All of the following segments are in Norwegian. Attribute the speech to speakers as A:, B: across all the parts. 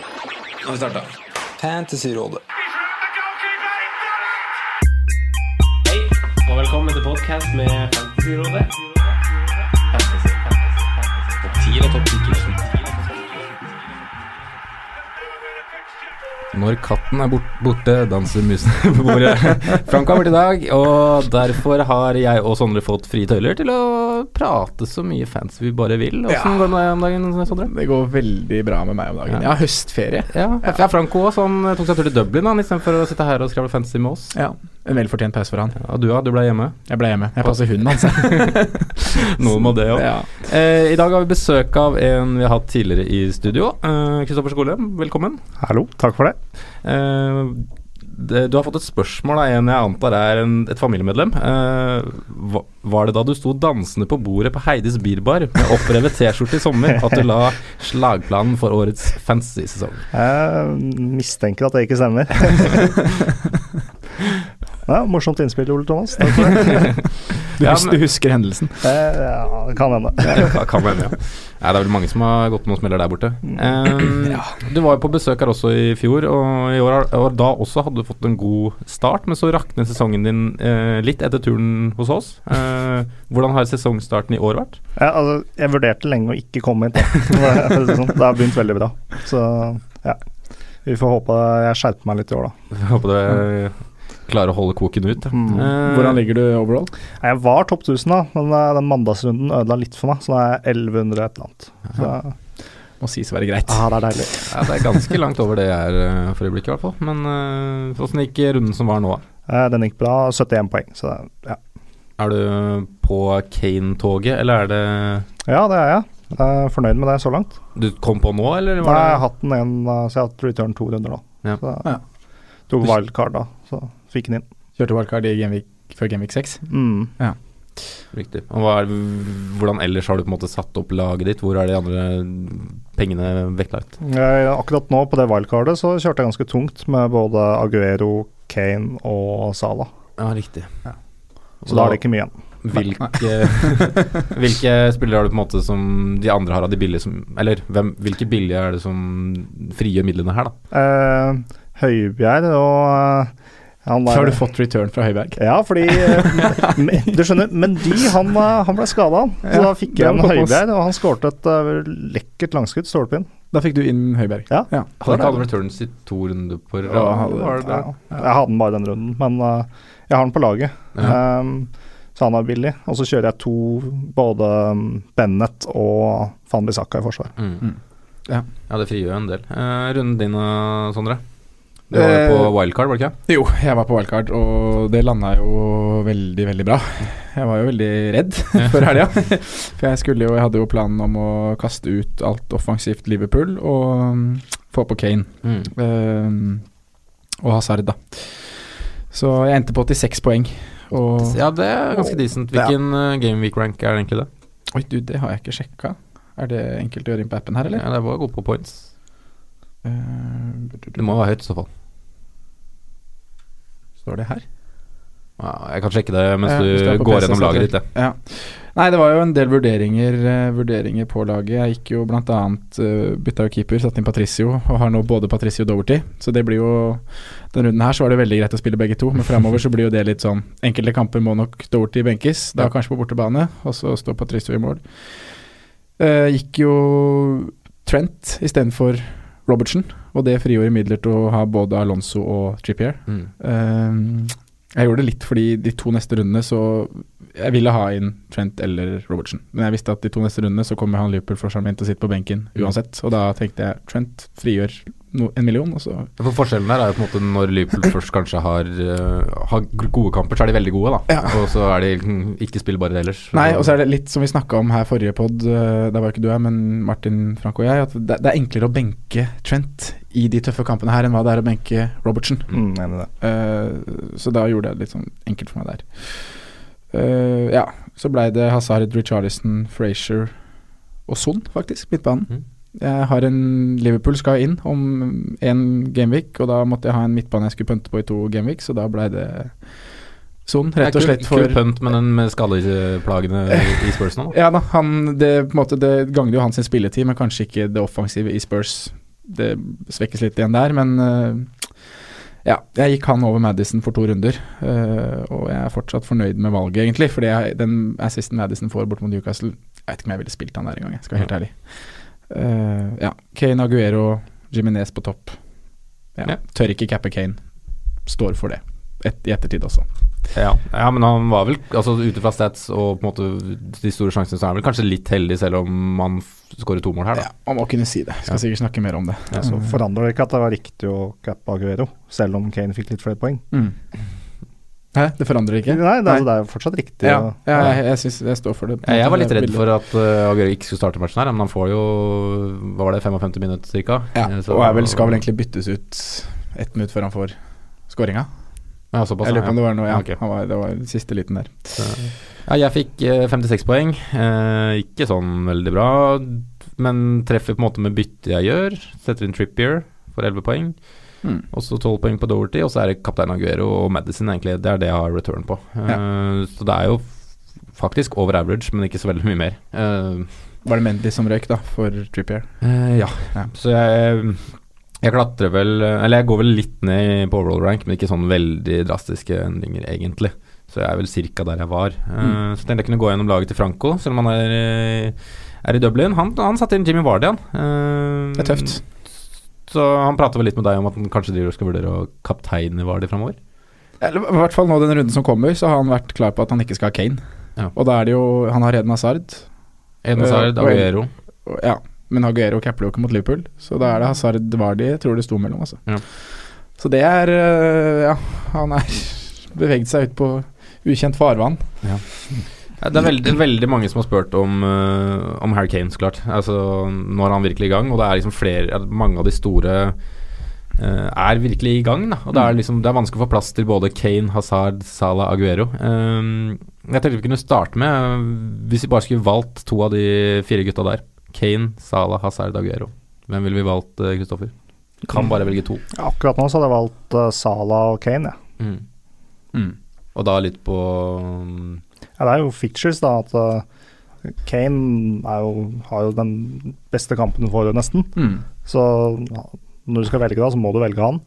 A: Nå har vi starta.
B: Fantasyrådet.
C: Hei, og velkommen til podcast med Fantasyrådet. Fantasy, fantasy, fantasy. Topp 10 eller topp 10?
A: Når katten er bort, borte, danser musen på bordet. Frank har vært i dag, og derfor har jeg og Sondre fått frie tøyler til å prate så mye fans vi bare vil. Åssen går det om dagen, Sondre?
D: Det går veldig bra med meg om dagen.
A: Ja.
D: Jeg har høstferie.
A: Ja, jeg er Frank også, han eh, tok seg tur til Dublin han, istedenfor å sitte her og skravle fantasy med oss.
D: Ja, En velfortjent pause for han.
A: Ja, du ja, du ble hjemme.
D: Jeg ble hjemme. Jeg passer hunden hans.
A: Noe må det òg.
D: Ja.
A: Eh, I dag har vi besøk av en vi har hatt tidligere i studio. Eh, Kristoffer Skole, velkommen.
E: Hallo, takk for det.
A: Eh, det, du har fått et spørsmål av en jeg antar er en, et familiemedlem. Eh, hva, var det da du sto dansende på bordet på Heidis bilbar med opprevet T-skjorte i sommer, at du la slagplanen for årets fantasy-sesong?
E: Jeg mistenker at det ikke stemmer. ja, morsomt innspill, Ole Thomas. Takk for det.
D: Du,
A: Ja,
D: hus
A: men-
D: du husker hendelsen.
E: Eh, Ja, det kan hende.
A: Ja, kan hende, ja. Nei, det er vel mange som har gått med noen smeller der borte. Eh, Du var jo på besøk her også i fjor, og i år, har- og da også hadde du fått en god start, men så raknet sesongen din eh, litt etter turen hos oss. Eh, hvordan har sesongstarten i år vært?
E: Ja, altså, jeg vurderte lenge å ikke komme hit. da. Det for å si det sånn. Det har begynt veldig bra. Så ja. Vi får håpe jeg skjerper meg litt i år, da.
A: Jeg håper du klarer å holde koken ut. da.
E: Mm.
A: Eh,
D: Hvordan ligger du overall?
E: Nei, Jeg var topp 1000, da, men eh, den mandagsrunden ødela litt for meg. Så nå er jeg 1100 et eller annet. Så
D: Må sies å være greit.
E: ja, Ah, det er deilig.
A: ja, det er ganske langt over det jeg er eh, for øyeblikket, i hvert fall. Men eh, åssen gikk runden som var nå? da?
E: Eh, Den gikk bra. 71 poeng, så det er- ja.
A: Er du på Kane-toget, eller er det
E: Ja, det er jeg. jeg er fornøyd med det så langt.
A: du kom på nå, eller?
E: Nei,
A: Var
E: jeg har
A: det?
E: hatt den en, uh, så jeg har hatt return to runder nå.
A: Ja.
E: Så,
D: Ja.
E: Tok wildcard da, så fikk den inn.
D: Kjørte wildcard i Genvik før Genvik 6.
E: Mm.
A: Riktig. Og hva er, hvordan ellers har du på en måte satt opp laget ditt? Hvor er de andre pengene vektlagt?
E: Jeg, akkurat nå på det wildcardet så kjørte jeg ganske tungt med både Aguero, Kane og Salah
A: Ja, riktig.
E: Så da er det ikke mye igjen.
A: Hvilke, hvilke spillere har du på en måte som de andre har av de billige som Eller hvem, hvilke billige er det som frigjør midlene her, da?
E: Eh, Høibjerg og eh, han
D: Så
E: der
D: har du fått return fra Høiberg.
E: Ja, fordi eh, men- Du skjønner, men de, han, eh, han ble skada. Så
D: Ja,
E: da fikk
D: det
E: jeg en
D: må gå på oss.
E: Høibjerg, og han skårte et eh, lekkert langskudd, stolpe inn.
D: Da fikk du inn Høiberg.
E: Ja.
A: Hadde ikke alle returns i to runder på rad?
D: Ja, hadde-
A: var det det?
E: Ja. Jeg hadde den bare den runden, men eh, jeg har den på laget. Um, så han er billig. Og så kjører jeg to, både um, Bennett og Van Bissaka i forsvar.
A: Mm.
D: Mm. Ja.
A: ja, det frigjør jo en del. Eh, runden din, eh, Sondre? Du var jo på
D: Eh,
A: wildcard, var det ikke?
D: Jo, jeg var på wildcard, og det landa jo veldig, veldig bra. Jeg var jo veldig redd før helga. For jeg skulle jo, jeg hadde jo planen om å kaste ut alt offensivt Liverpool og mm, få på Kane.
A: Mm.
D: Ehm, og Hazard, da. Så jeg endte på 86 poeng. Og
A: Ja, det er ganske decent. Hvilken eh, gameweek rank er det egentlig det?
D: Oi, du, det har jeg ikke sjekka. Er det enkelt å gjøre inn på appen her, eller?
A: Ja, det var god på points.
D: Ehm,
A: Det må være høyt i så fall.
D: Står det her?
A: Ja, jeg kan sjekke det mens
D: Ja,
A: du,
D: hvis er på
A: går
D: PC,
A: gjennom
D: så
A: laget
D: tror
A: ditt.
D: jeg- Ja. Nei, det var jo en del vurderinger, eh, vurderinger på laget. Jeg gikk jo blant annet eh, bytta jo keeper, satte inn Patricio, og har nå både Patricio og Doverty. Så det blir jo Den runden her så var det veldig greit å spille begge to, men framover så blir jo det litt sånn Enkelte kamper må nok Doverty benkes, da
A: Ja.
D: kanskje på bortebane, og så står Patricio i mål. Eh, gikk jo Trent istedenfor Robertsen, og det frigjorde midler til å ha både Alonso og Trippier.
A: Mm.
D: Ehm, jeg gjorde det litt fordi de to neste rundene så Jeg ville ha inn Trent eller Robertsen. Men jeg visste at de to neste rundene så kommer han Liverpool-forsvareren min til å sitte på benken uansett. Og da tenkte jeg Trent frigjør no, en million, og så
A: For Forskjellen der er jo på en måte når Liverpool først kanskje har, eh, har gode kamper, så er de veldig gode, da. Og så er de mm, ikke spillbare ellers.
D: Nei, og så er det litt som vi snakka om her forrige pod, eh, der var ikke du her, men Martin, Frank og jeg, at det, det er enklere å benke Trent i de tøffe kampene her enn hva det er å benke Robertsen.
E: Mm, enig i det.
D: Eh, så da gjorde jeg det litt sånn enkelt for meg der. Eh, ja, så blei det Hazard, Richarlison, Frazier og Son, faktisk, midtbanen.
A: Mhm.
D: Jeg har en Liverpool skal inn om én gameweek, og da måtte jeg ha en midtbane jeg skulle pønte på i to gameweek, så da blei det Son, rett og slett for
A: Kul pønt med den med skadeplagene i- i Spurs nå, da.
D: ja da, han, det, på en måte, det gagner jo hans spilletid, men kanskje ikke det offensive i Spurs det svekkes litt igjen der, men eh, ja, jeg gikk han over Madison for to runder, eh, og jeg er fortsatt fornøyd med valget, egentlig. Fordi jeg, den assisten Madison får bort mot Newcastle Jeg vet ikke om jeg ville spilt han der engang, jeg skal være helt ærlig. Eh, ja, Kane Aguero, Jiminez på topp. Ja,
A: Ja.
D: Tør ikke cappe Kane. Står for det. Et, I ettertid også.
A: Ja. ja, men han var vel altså Ute fra stats og på en måte de store sjansene, så er han vel kanskje litt heldig, selv om han f- skårer to mål her, da.
D: Ja, man må kunne si det. Skal
A: Ja.
D: sikkert snakke mer om det.
A: Ja.
E: Så forandrer det ikke at det var riktig å cappe Aguero, selv om Kane fikk litt flere poeng.
D: Mm. Hæ, det forandrer ikke?
E: Nei, det, er- det er jo fortsatt riktig.
D: Ja,
E: å-
D: ja jeg, jeg, synes jeg står for det.
A: Ja, jeg var litt
D: Det er
A: redd
D: billig.
A: for at eh, Aguero ikke skulle starte matchen her, men han får jo Hva var det, 55 minutter ca.?
D: ja, Og er vel, skal vel egentlig byttes ut ett minutt før han får scoringa.
A: ja, såpass,
D: Jeg lurer på om det var noe ja,
A: Ok.
D: han var, Det var siste liten der.
A: Ja, jeg fikk eh, 56 poeng. Eh, ikke sånn veldig bra, men treffer på en måte med byttet jeg gjør. Setter inn Trippier for 11 poeng,
D: Mm.
A: og så 12 poeng på Doverty, og så er det kaptein Aguero og Madison, egentlig. Det er det jeg har return på. Eh, Så det er jo f- faktisk over average, men ikke så veldig mye mer. Eh,
D: Var det Mendy som røyk, da, for Trippier?
A: Eh, ja.
D: Ja.
A: så jeg, jeg klatrer vel Eller jeg går vel litt ned på overall rank, men ikke sånn veldig drastiske endringer, egentlig. Så jeg er vel cirka der jeg var. Eh,
D: Mm.
A: Så tenkte jeg kunne gå gjennom laget til Franco, selv om han er, eh, er i Dublin. Han, han satte inn Jimmy Vardy, han. Eh,
D: Det er tøft.
A: Så han prata vel litt med deg om at han kanskje driver og skal vurdere å kapteine Vardy framover?
D: Eller, I hvert fall nå den runden som kommer, så har han vært klar på at han ikke skal ha Kane.
A: Ja.
D: Og da er det jo Han har Eden Hazard.
A: Eden
D: Eh,
A: Hazard,
D: og-
A: Aguero.
D: Og, ja, men Aguero capper jo ikke mot Liverpool, så da er det Hazard Vardi jeg tror det sto mellom, altså.
A: Ja.
D: Så det er øh, Ja, han er beveget seg ut på ukjent farvann.
A: Ja, Det er veldig, veldig mange som har spurt om, eh, om Harry Kane, så klart. Altså, nå er han virkelig i gang, og det er liksom flere ja, Mange av de store eh, er virkelig i gang. Da. Og det er, liksom, det er vanskelig å få plass til både Kane, Hazard, Salah, Aguero. Eh, jeg tenkte vi kunne starte med, eh, hvis vi bare skulle valgt to av de fire gutta der Kane, Salah, Hazard, Aguero. Hvem ville vi valgt, eh, Kristoffer? Kan bare velge to.
E: Ja, Akkurat nå så hadde jeg valgt eh, Salah og Kane, jeg.
A: Mm. Og da litt på mm,
E: Ja. Ja, det er jo fictures, da. At eh, Kane er jo, har jo den beste kampen du får, nesten.
D: Mm.
E: Så ja, når du skal velge, da, så må du velge han.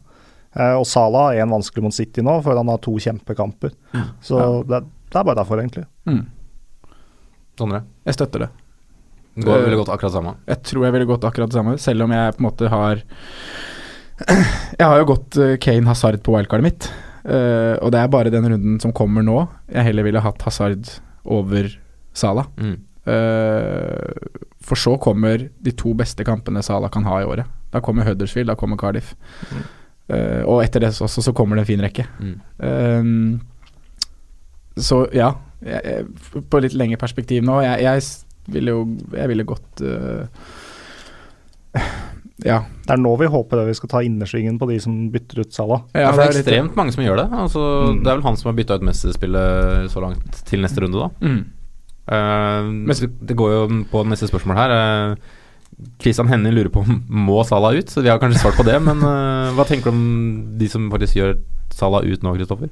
E: Eh, og Salah har én vanskelig mot City nå, for han har to kjempekamper. Så det, det er bare derfor, egentlig.
D: Mm.
A: Sondre.
D: Jeg støtter det.
A: Det går veldig godt akkurat samme.
D: Jeg tror jeg ville gått akkurat det samme, selv om jeg på en måte har Jeg har jo gått eh, Kane Hazard på wildcardet mitt, eh, og det er bare den runden som kommer nå jeg heller ville hatt Hazard over Salah.
A: Mm.
D: Eh, for så kommer de to beste kampene Salah kan ha i året. Da kommer Huddersfield, da kommer Cardiff. Eh, og etter det så- også så kommer det en fin rekke.
A: Mm.
D: Ehm, så ja, jeg, jeg, på litt lengre perspektiv nå Jeg, jeg s- ville jo Jeg ville gått eh, Ja.
E: Det er nå vi håper vi skal ta innersvingen på de som bytter ut Salah.
A: Ja, for det er
D: litt-
A: ekstremt mange som gjør det. Altså,
E: Mm.
A: Det er vel han som har bytta ut Messi-spillet så langt til neste runde, da.
D: Mm.
A: Eh, det går jo på neste spørsmål her. Eh, Christian Henning lurer på om må Salah ut, så vi har kanskje svart på det. Men eh, hva tenker du om de som faktisk gjør Salah ut nå, Kristoffer?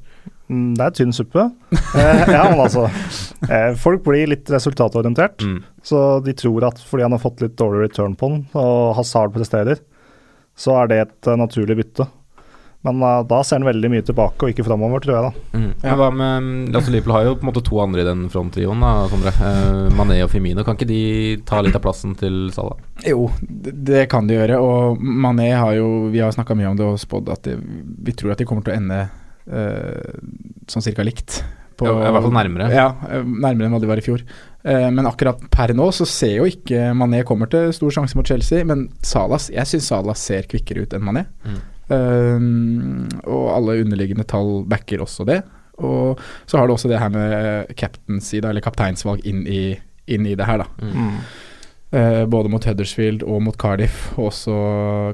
E: Mm, det er tynn suppe. Eh, ja, men altså. Eh, folk blir litt resultatorientert.
A: Mm.
E: Så de tror at fordi han har fått litt dårlig return på den, og Hazard presterer, så er det et eh, naturlig bytte. Men eh, da ser han veldig mye tilbake, og ikke framover, tror jeg, da.
A: Mm. Men Hva med altså, Liverpool har jo på en måte to andre i den fronttrioen, da, Sondre. Eh, Mané og Firmino. Kan ikke de ta litt av plassen til Salah?
D: Jo, det, det kan de gjøre. Og Mané har jo Vi har snakka mye om det og spådd at det, vi tror at de kommer til å ende eh, sånn cirka likt. på-
A: Ja, I hvert fall nærmere.
D: Ja, eh, nærmere enn hva de var i fjor. Eh, men akkurat per nå så ser jo ikke Mané kommer til stor sjanse mot Chelsea, men Salas, jeg syns Salas ser kvikkere ut enn Mané.
A: Mm.
D: Eh, og alle underliggende tall backer også det. Og så har du også det her med captaincy, da, eller kapteinsvalg, inn i, inn i det her, da. Eh, både mot Huddersfield og mot Cardiff, og også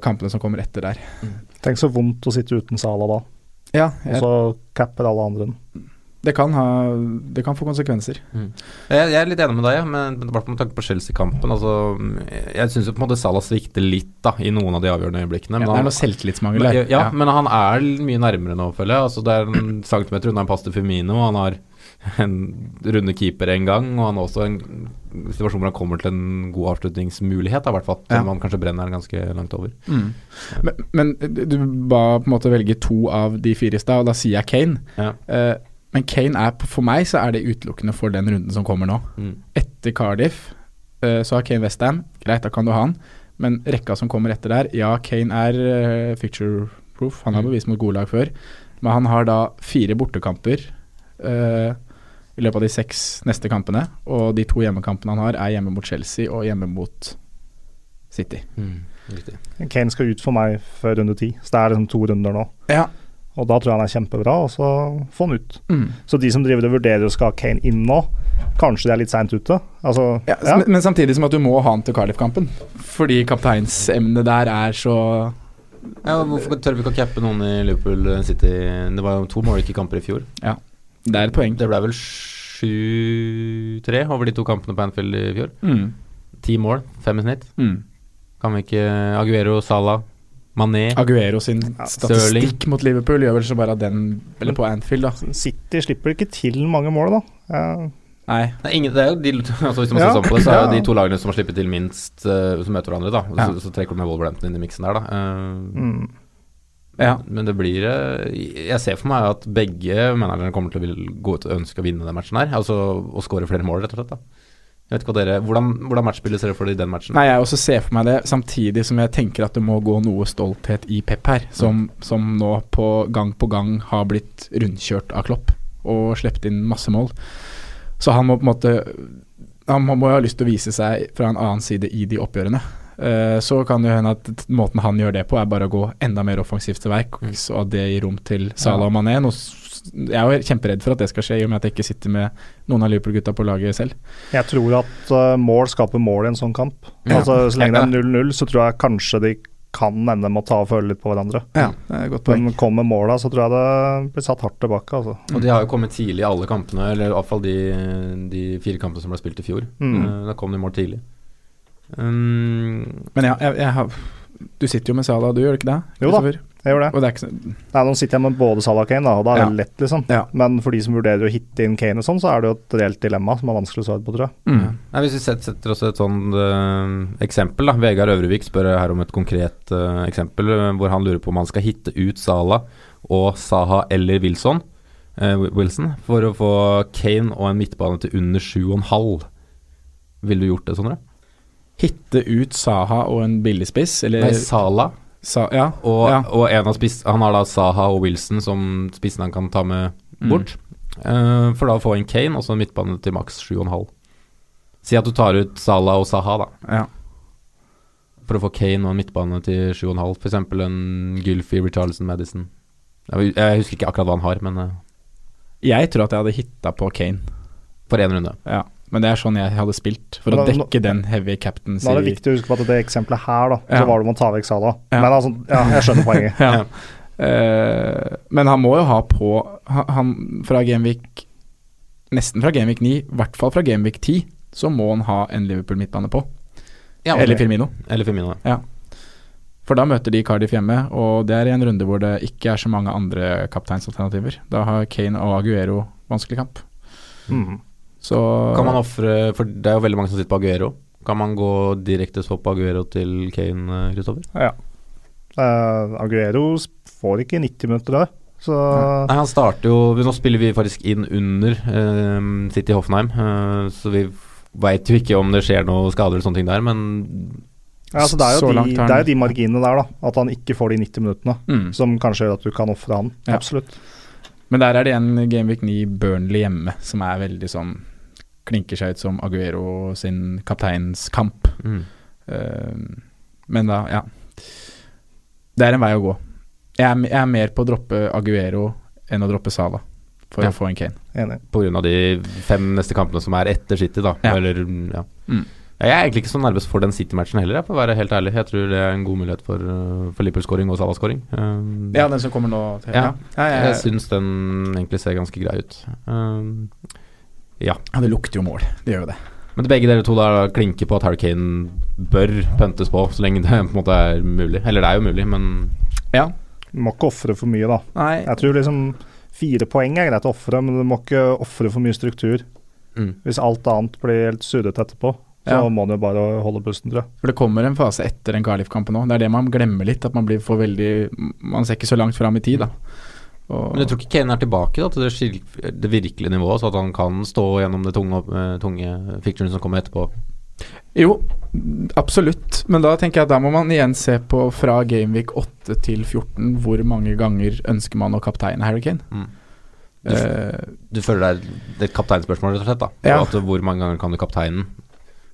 D: kampene som kommer etter der.
E: Tenk så vondt å sitte uten Salah da,
D: Ja,
E: og
D: jeg,
E: så capper alle andre den.
D: det kan, ha, det kan få konsekvenser.
A: Jeg, jeg er litt enig med deg, ja, men men i hvert fall med tanke på Chelsea-kampen. Altså, jeg syns jo på en måte Salah svikter litt da, i noen av de avgjørende øyeblikkene.
D: Ja,
A: Men
D: det er
A: han,
D: noe selvtillitsmangel
A: men,
D: der.
A: ja, men han er l- mye nærmere nå, føler jeg. Altså, det er en centimeter unna en pass til Firmino. og Han har en runde keeper en gang, og han har også en situasjon hvor han kommer til en god avslutningsmulighet, da, i hvert fall.
D: Ja.
A: Selv om han kanskje brenner den ganske langt over.
D: Mm. Men, men eh, du ba på en måte velge to av de fire i stad, og da sier jeg Kane.
A: Ja.
D: Eh, men Kane er, på- for meg så er det utelukkende for den runden som kommer nå.
A: Mm.
D: Etter Cardiff eh, så har Kane Westham, greit, da kan du ha han. Men rekka som kommer etter der, ja, Kane er eh, picture proof. Han har
A: Mm.
D: bevist mot gode lag før. Men han har da fire bortekamper eh, i løpet av de seks neste kampene. Og de to hjemmekampene han har, er hjemme mot Chelsea og hjemme mot City.
A: Riktig.
E: Kane skal ut for meg før runde ti, så det er liksom to runder nå.
D: Ja.
E: Og da tror jeg han er kjempebra, og så få han ut.
D: Mm.
E: Så de som driver og vurderer å skal ha Kane inn nå, kanskje de er litt seint ute. Altså,
D: Ja,
E: ja.
D: Men, men samtidig som at du må ha han til Cardiff-kampen. Fordi kapteinsemnet der er så
A: Ja, hvorfor tør vi ikke å cappe noen i Liverpool City? Det var jo to Morricky-kamper i fjor.
D: Det er et poeng.
A: Det ble vel 7-3 over de to kampene på Anfield i fjor.
D: Mm.
A: Ti mål, fem i snitt.
D: Mm.
A: Kan vi ikke Aguero, Salah, Mané
D: Aguero sin
E: Ja,
D: statistikk
A: Sterling.
D: mot Liverpool gjør vel så bare at den Eller på Anfield, da.
E: City slipper ikke til mange mål, da. Eh,
D: Nei.
A: Nei, ingen, det er jo de, altså Hvis man
E: Ja.
A: ser sånn på det, så er jo
E: Ja.
A: de to lagene som har slippet til minst, eh, som møter hverandre, da. Og
D: Ja.
A: Så, så trekker du med Wolverhampton inn i miksen der, da. Eh,
E: mm.
D: Ja.
A: Men det blir eh, Jeg ser for meg at begge managerne kommer til å vil gå ut og ønske å vinne den matchen her. Altså å skåre flere mål, rett og slett. da jeg vet ikke hva dere, Hvordan, hvordan matchbildet ser dere for dere i den matchen?
D: Nei, jeg også ser for meg det, samtidig som jeg tenker at det må gå noe stolthet i Pep her, som, som nå på gang på gang har blitt rundkjørt av Klopp og sluppet inn masse mål. Så han må på en måte Han må må jo ha lyst til å vise seg fra en annen side i de oppgjørene. Eh, Så kan det jo hende at t- måten han gjør det på, er bare å gå enda mer offensivt til verk,
A: Mm.
D: så at det gir rom til Salah og Mané. Nå s- Jeg er jo kjemperedd for at det skal skje, i og med at jeg ikke sitter med noen av Liverpool-gutta på laget selv.
E: Jeg tror at eh, mål skaper mål i en sånn kamp.
D: Ja.
E: Altså, så lenge
A: Ja.
E: det er 0-0, så tror jeg kanskje de kan ende med å ta og føle litt på hverandre.
A: Ja,
D: det er et godt
E: Men kommer måla, så tror jeg det blir satt hardt tilbake, altså.
A: Og de har jo kommet tidlig i alle kampene, eller iallfall de, de fire kampene som ble spilt i fjor.
E: Mm.
A: Eh, da kom de i mål tidlig. Um,
D: Men ja, jeg, jeg har Du sitter jo med Salah, du gjør ikke det?
E: Jo da.
D: Kristoffer?
E: Jeg gjør det.
D: Og det er ikke så,
E: Nei, Nå sitter jeg med både Salah og Kane, da, og da er det lett, liksom.
D: Ja.
E: Men for de som vurderer å hitte inn Kane og sånn, så er det jo et reelt dilemma som er vanskelig å svare på, tror jeg.
D: mm.
A: ja. Nei, hvis vi set- setter oss et sånn eh, eksempel, da. Vegard Øvrevik spør her om et konkret eh, eksempel eh, hvor han lurer på om han skal hitte ut Sala og Saha eller Wilson, eh, Wi- Wilson for å få Kane og en midtbane til under 7,5. Ville du gjort det, Sondre?
D: Hitte ut Saha og en billigspiss, eller
A: Nei, Sala
D: Sa- ja,
A: Og,
D: ja.
A: og en av spiss, han har da Saha og Wilson som spissen han kan ta med
D: Mm.
A: bort. Eh, for da å få en Kane og så en midtbane til maks 7,5. Si at du tar ut Salah og Saha, da.
D: Ja.
A: For å få Kane og en midtbane til 7,5. F.eks. en Gylfi, Richarlison, Madison. Jeg, jeg husker ikke akkurat hva han har, men eh,
D: Jeg tror at jeg hadde hitta på Kane,
A: for én runde.
D: ja. men det er sånn jeg hadde spilt, for å
E: Men nå-
D: dekke den heavy captaincy.
E: Nå er det viktig å huske på at det eksempelet her, da,
D: Ja.
E: så var det om å ta vekk Salah.
D: Ja.
E: Men altså, ja, jeg skjønner poenget.
D: ja. Eh, men han må jo ha på ha- han, Fra Genvik Nesten fra Genvik 9, i hvert fall fra Genvik 10, så må han ha en Liverpool-midtbane på.
A: Ja,
D: Eller Firmino.
A: eller Firmino.
D: For da møter de Cardiff hjemme, og det er i en runde hvor det ikke er så mange andre kapteinsalternativer. Da har Kane og Aguero vanskelig kamp.
E: Mm.
D: Så
A: Kan man ofre For det er jo veldig mange som sitter på Aguero. Kan man gå direkte swap Aguero til Kane, eh, Kristoffer?
E: Eh, Aguero får ikke 90 minutter der, så
A: Nei, han starter jo Nå spiller vi faktisk inn under eh, City Hoffenheim, eh, så vi veit jo ikke om det skjer noe skader eller sånne ting der, men
E: ja, altså, det, er
D: Så
E: jo de,
D: langt har han-
E: det er jo de marginene der, da. At han ikke får de 90 minuttene.
D: mm.
E: Som kanskje gjør at du kan ofre han.
D: Ja.
E: Absolutt.
D: Men der er det en Gameweek 9 Burnley hjemme som er veldig sånn Klinker seg ut som Aguero sin kapteinskamp.
A: mm.
D: Eh, men da, ja. Det er en vei å gå. Jeg er, jeg er mer på å droppe Aguero enn å droppe Sala for
A: Ja.
D: å få en Kane.
E: Enig.
A: på grunn av de fem neste kampene som er etter City, da.
D: Ja.
A: Eller, mm, ja.
D: Mm.
A: Jeg er egentlig ikke så nervøs for den City-matchen heller, jeg, for å være helt ærlig. Jeg tror det er en god mulighet for, eh, for Liverpool-scoring og Salah-scoring. Um,
D: Ja, den som kommer nå til
A: Ja.
D: Ja, jeg,
A: jeg syns den egentlig ser ganske grei ut. Um,
D: ja, det lukter jo mål. Det gjør jo det.
A: men begge dere to da klinker på at Harry Kane bør pøntes på, så lenge det på en måte er mulig. Eller det er jo mulig, men
E: Du må ikke ofre for mye, da.
D: Nei,
E: Jeg tror liksom fire poeng er greit å ofre, men du må ikke ofre for mye struktur.
A: mm.
E: Hvis alt annet blir helt surret etterpå,
D: Ja.
E: så må du bare holde pusten, tror jeg.
D: For det kommer en fase etter den Carlif-kampen òg. Det er det man glemmer litt. At man blir for veldig Man ser ikke så langt fram i tid, da. Og,
A: Men jeg tror ikke Kane er tilbake da, til det, skil- det virkelige nivået, så at han kan stå gjennom det tunge, eh, tunge fictionen som kommer etterpå.
D: Jo, absolutt. Men da tenker jeg at da må man igjen se på fra Gameweek 8 til 14 hvor mange ganger ønsker man å kapteine Harry Kane.
A: Mm.
D: Eh,
A: Du føler det er- det er et kapteinspørsmål, rett og slett? da
D: Ja.
A: At Hvor mange ganger kan du kapteinen?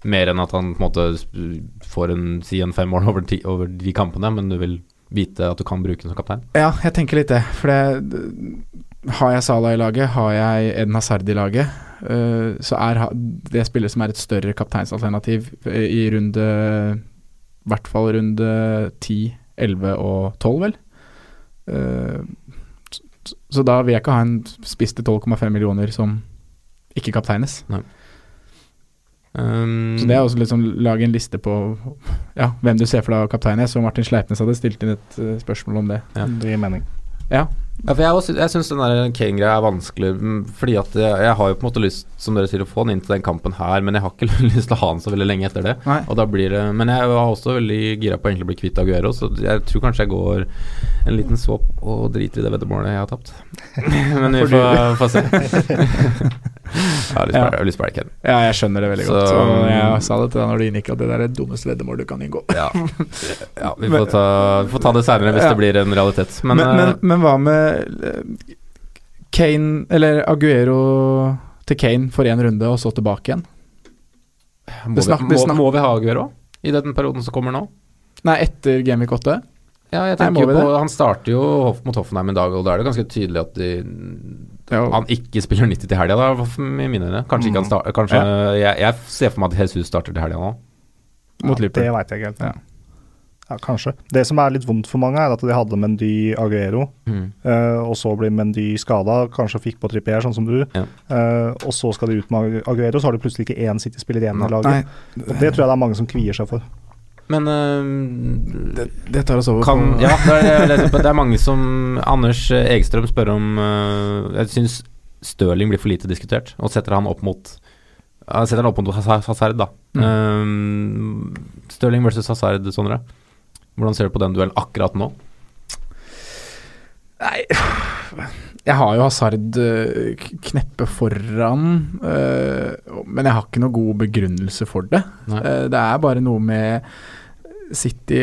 A: Mer enn at han på en måte sp- får en si en fem år over, ti, over de kampene, men du vil vite at du kan bruke den som kaptein?
D: ja, jeg tenker litt det. For det, d- har jeg Salah i laget, har jeg Eden Hazard i laget, eh, så er ha- det spillet som er et større kapteinsalternativ eh, i runde I hvert fall runde 10, 11 og 12, vel. Eh, s- s- så da vil jeg ikke ha en spiss til 12,5 millioner som ikke kapteines.
A: Um,
D: Så det er også liksom lage en liste på ja, hvem du ser for deg av kaptein. Jeg så Martin Sleipnes hadde stilt inn et eh, spørsmål om det.
A: Ja.
E: Det gir mening.
A: ja, for jeg også- jeg syns den der Kane-greia er vanskelig, mm, fordi at jeg, jeg har jo på en måte lyst, som dere sier, å få han inn til den kampen her, men jeg har ikke lyst til å ha han så veldig lenge etter det.
D: Nei.
A: Og da blir det Men jeg var også veldig gira på å egentlig bli kvitt Aguero, så jeg tror kanskje jeg går en liten swap og driter i det veddemålet jeg har tapt. Men vi
D: For
A: får, får se. jeg har lyst på- jeg har lyst på Harry Kane.
D: Ja, jeg skjønner det veldig
A: Så- um,
D: godt. Og jeg sa det til deg når du inngikk at det der er det dummeste veddemål du kan inngå.
A: Ja. ja vi, får ta, vi får ta det seinere hvis
D: Ja.
A: det blir en realitet. Men,
D: Men, men,
A: eh,
D: men hva med eh, Kane, eller Aguero til Kane for én runde, og så tilbake igjen?
A: eh, må,
D: det snak-
A: vi,
D: det
A: må,
D: snak-
A: må vi ha Aguero i den perioden som kommer nå?
D: Nei, etter Gameweek 8?
A: Ja, jeg
D: Nei,
A: tenker
D: må vi
A: jo på
D: det?
A: Han starter jo Hoff mot Hoffenheim i dag, og da er det ganske tydelig at de
D: Ja. Mm.
A: Han ikke spiller 90 til helga, da, for- i mine øyne. Kanskje ikke han starter Kanskje jeg, jeg ser for meg at Jesus starter til helga nå.
D: Mot
E: ja,
D: Liverpool.
E: Det veit jeg ikke helt.
D: Ja.
E: Ja, kanskje. Det som er litt vondt for mange, er at de hadde Mendy Aguero,
A: Mm.
E: eh, og så blir Mendy skada, kanskje fikk på Trippier, sånn som du,
A: Ja.
E: eh, og så skal de ut med Ag- Aguero, så har de plutselig ikke én City-spiller igjen i
D: Nei,
E: laget. Og det tror jeg det er mange som kvier seg for.
A: Men
D: det,
A: øhm,
D: det tar oss over
A: kan
D: på
A: Ja, det er, det er nettopp at det er mange som Anders eh, Egstrøm spør om øh, Jeg syns Stirling blir for lite diskutert, og setter han opp mot ja, Setter han opp mot Hazard, Hazard da.
D: Mm.
A: Øhm, Stirling versus Hazard, Sondre. Hvordan ser du på den duellen akkurat nå?
D: Nei Jeg har jo Hazard eh, k- kneppe foran, eh, men jeg har ikke noe god begrunnelse for det.
A: Nei.
D: Eh, Det er bare noe med City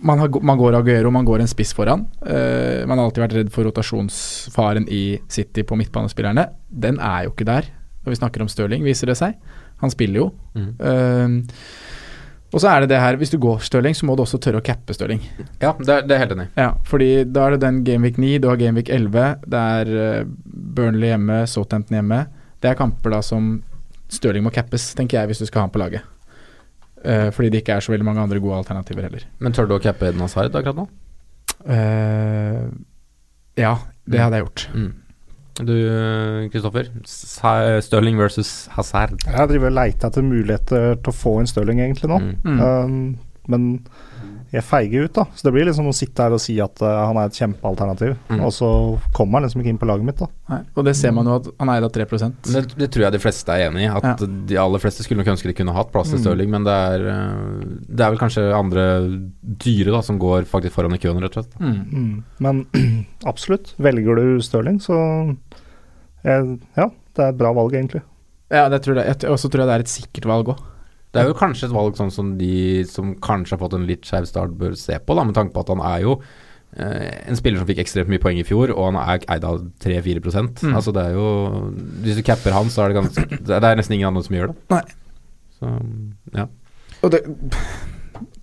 D: man, har, man går Aguero, man går en spiss foran. Eh, man har alltid vært redd for rotasjonsfaren i City på midtbanespillerne. Den er jo ikke der når vi snakker om Stirling, viser det seg. Han spiller jo.
A: Mhm.
D: Eh, og så er det det her, hvis du går Stirling, så må du også tørre å cappe Stirling.
A: Ja, det er, det er helt enig.
D: Ja, fordi da er det den Gameweek 9, du har Gameweek 11, det er eh, Burnley hjemme, Southampton hjemme. Det er kamper da som Stirling må cappes, tenker jeg, hvis du skal ha han på laget. Eh, fordi det ikke er så veldig mange andre gode alternativer heller.
A: Men tør du å cappe Eden Hazard akkurat nå?
D: Eh, ja, det hadde jeg gjort.
A: Du, Kristoffer. Sa- Stirling versus Hazard.
E: Jeg driver og leiter etter muligheter til å få inn Stirling, egentlig, nå.
A: Mm.
D: Mm.
E: Um, men jeg feiger ut, da. Så det blir liksom å sitte her og si at eh, han er et kjempealternativ,
A: Mm.
E: og så kommer han liksom ikke inn på laget mitt, da.
D: Nei, og det ser man jo at han er da 3
A: Men Det, det tror jeg de fleste er enig i. At
D: Ja.
A: de aller fleste skulle nok ønske de kunne hatt plass til
D: Mm.
A: Stirling, men det er, eh, det er vel kanskje andre dyre da, som går faktisk foran i køen, rett og slett.
D: mm.
E: Men absolutt, velger du Stirling, så eh, Ja, det er et bra valg, egentlig.
D: Ja, det tror jeg, jeg, og så tror jeg det er et sikkert valg òg.
A: Det er jo kanskje et valg sånn som de som kanskje har fått en litt skeiv start, bør se på, da, med tanke på at han er jo eh, en spiller som fikk ekstremt mye poeng i fjor, og han er eid av 3-4
D: Mm.
A: Altså det er jo Hvis du capper han, så er det ganske Det er nesten ingen andre som gjør det.
D: Nei.
A: Så, ja.
D: Og det,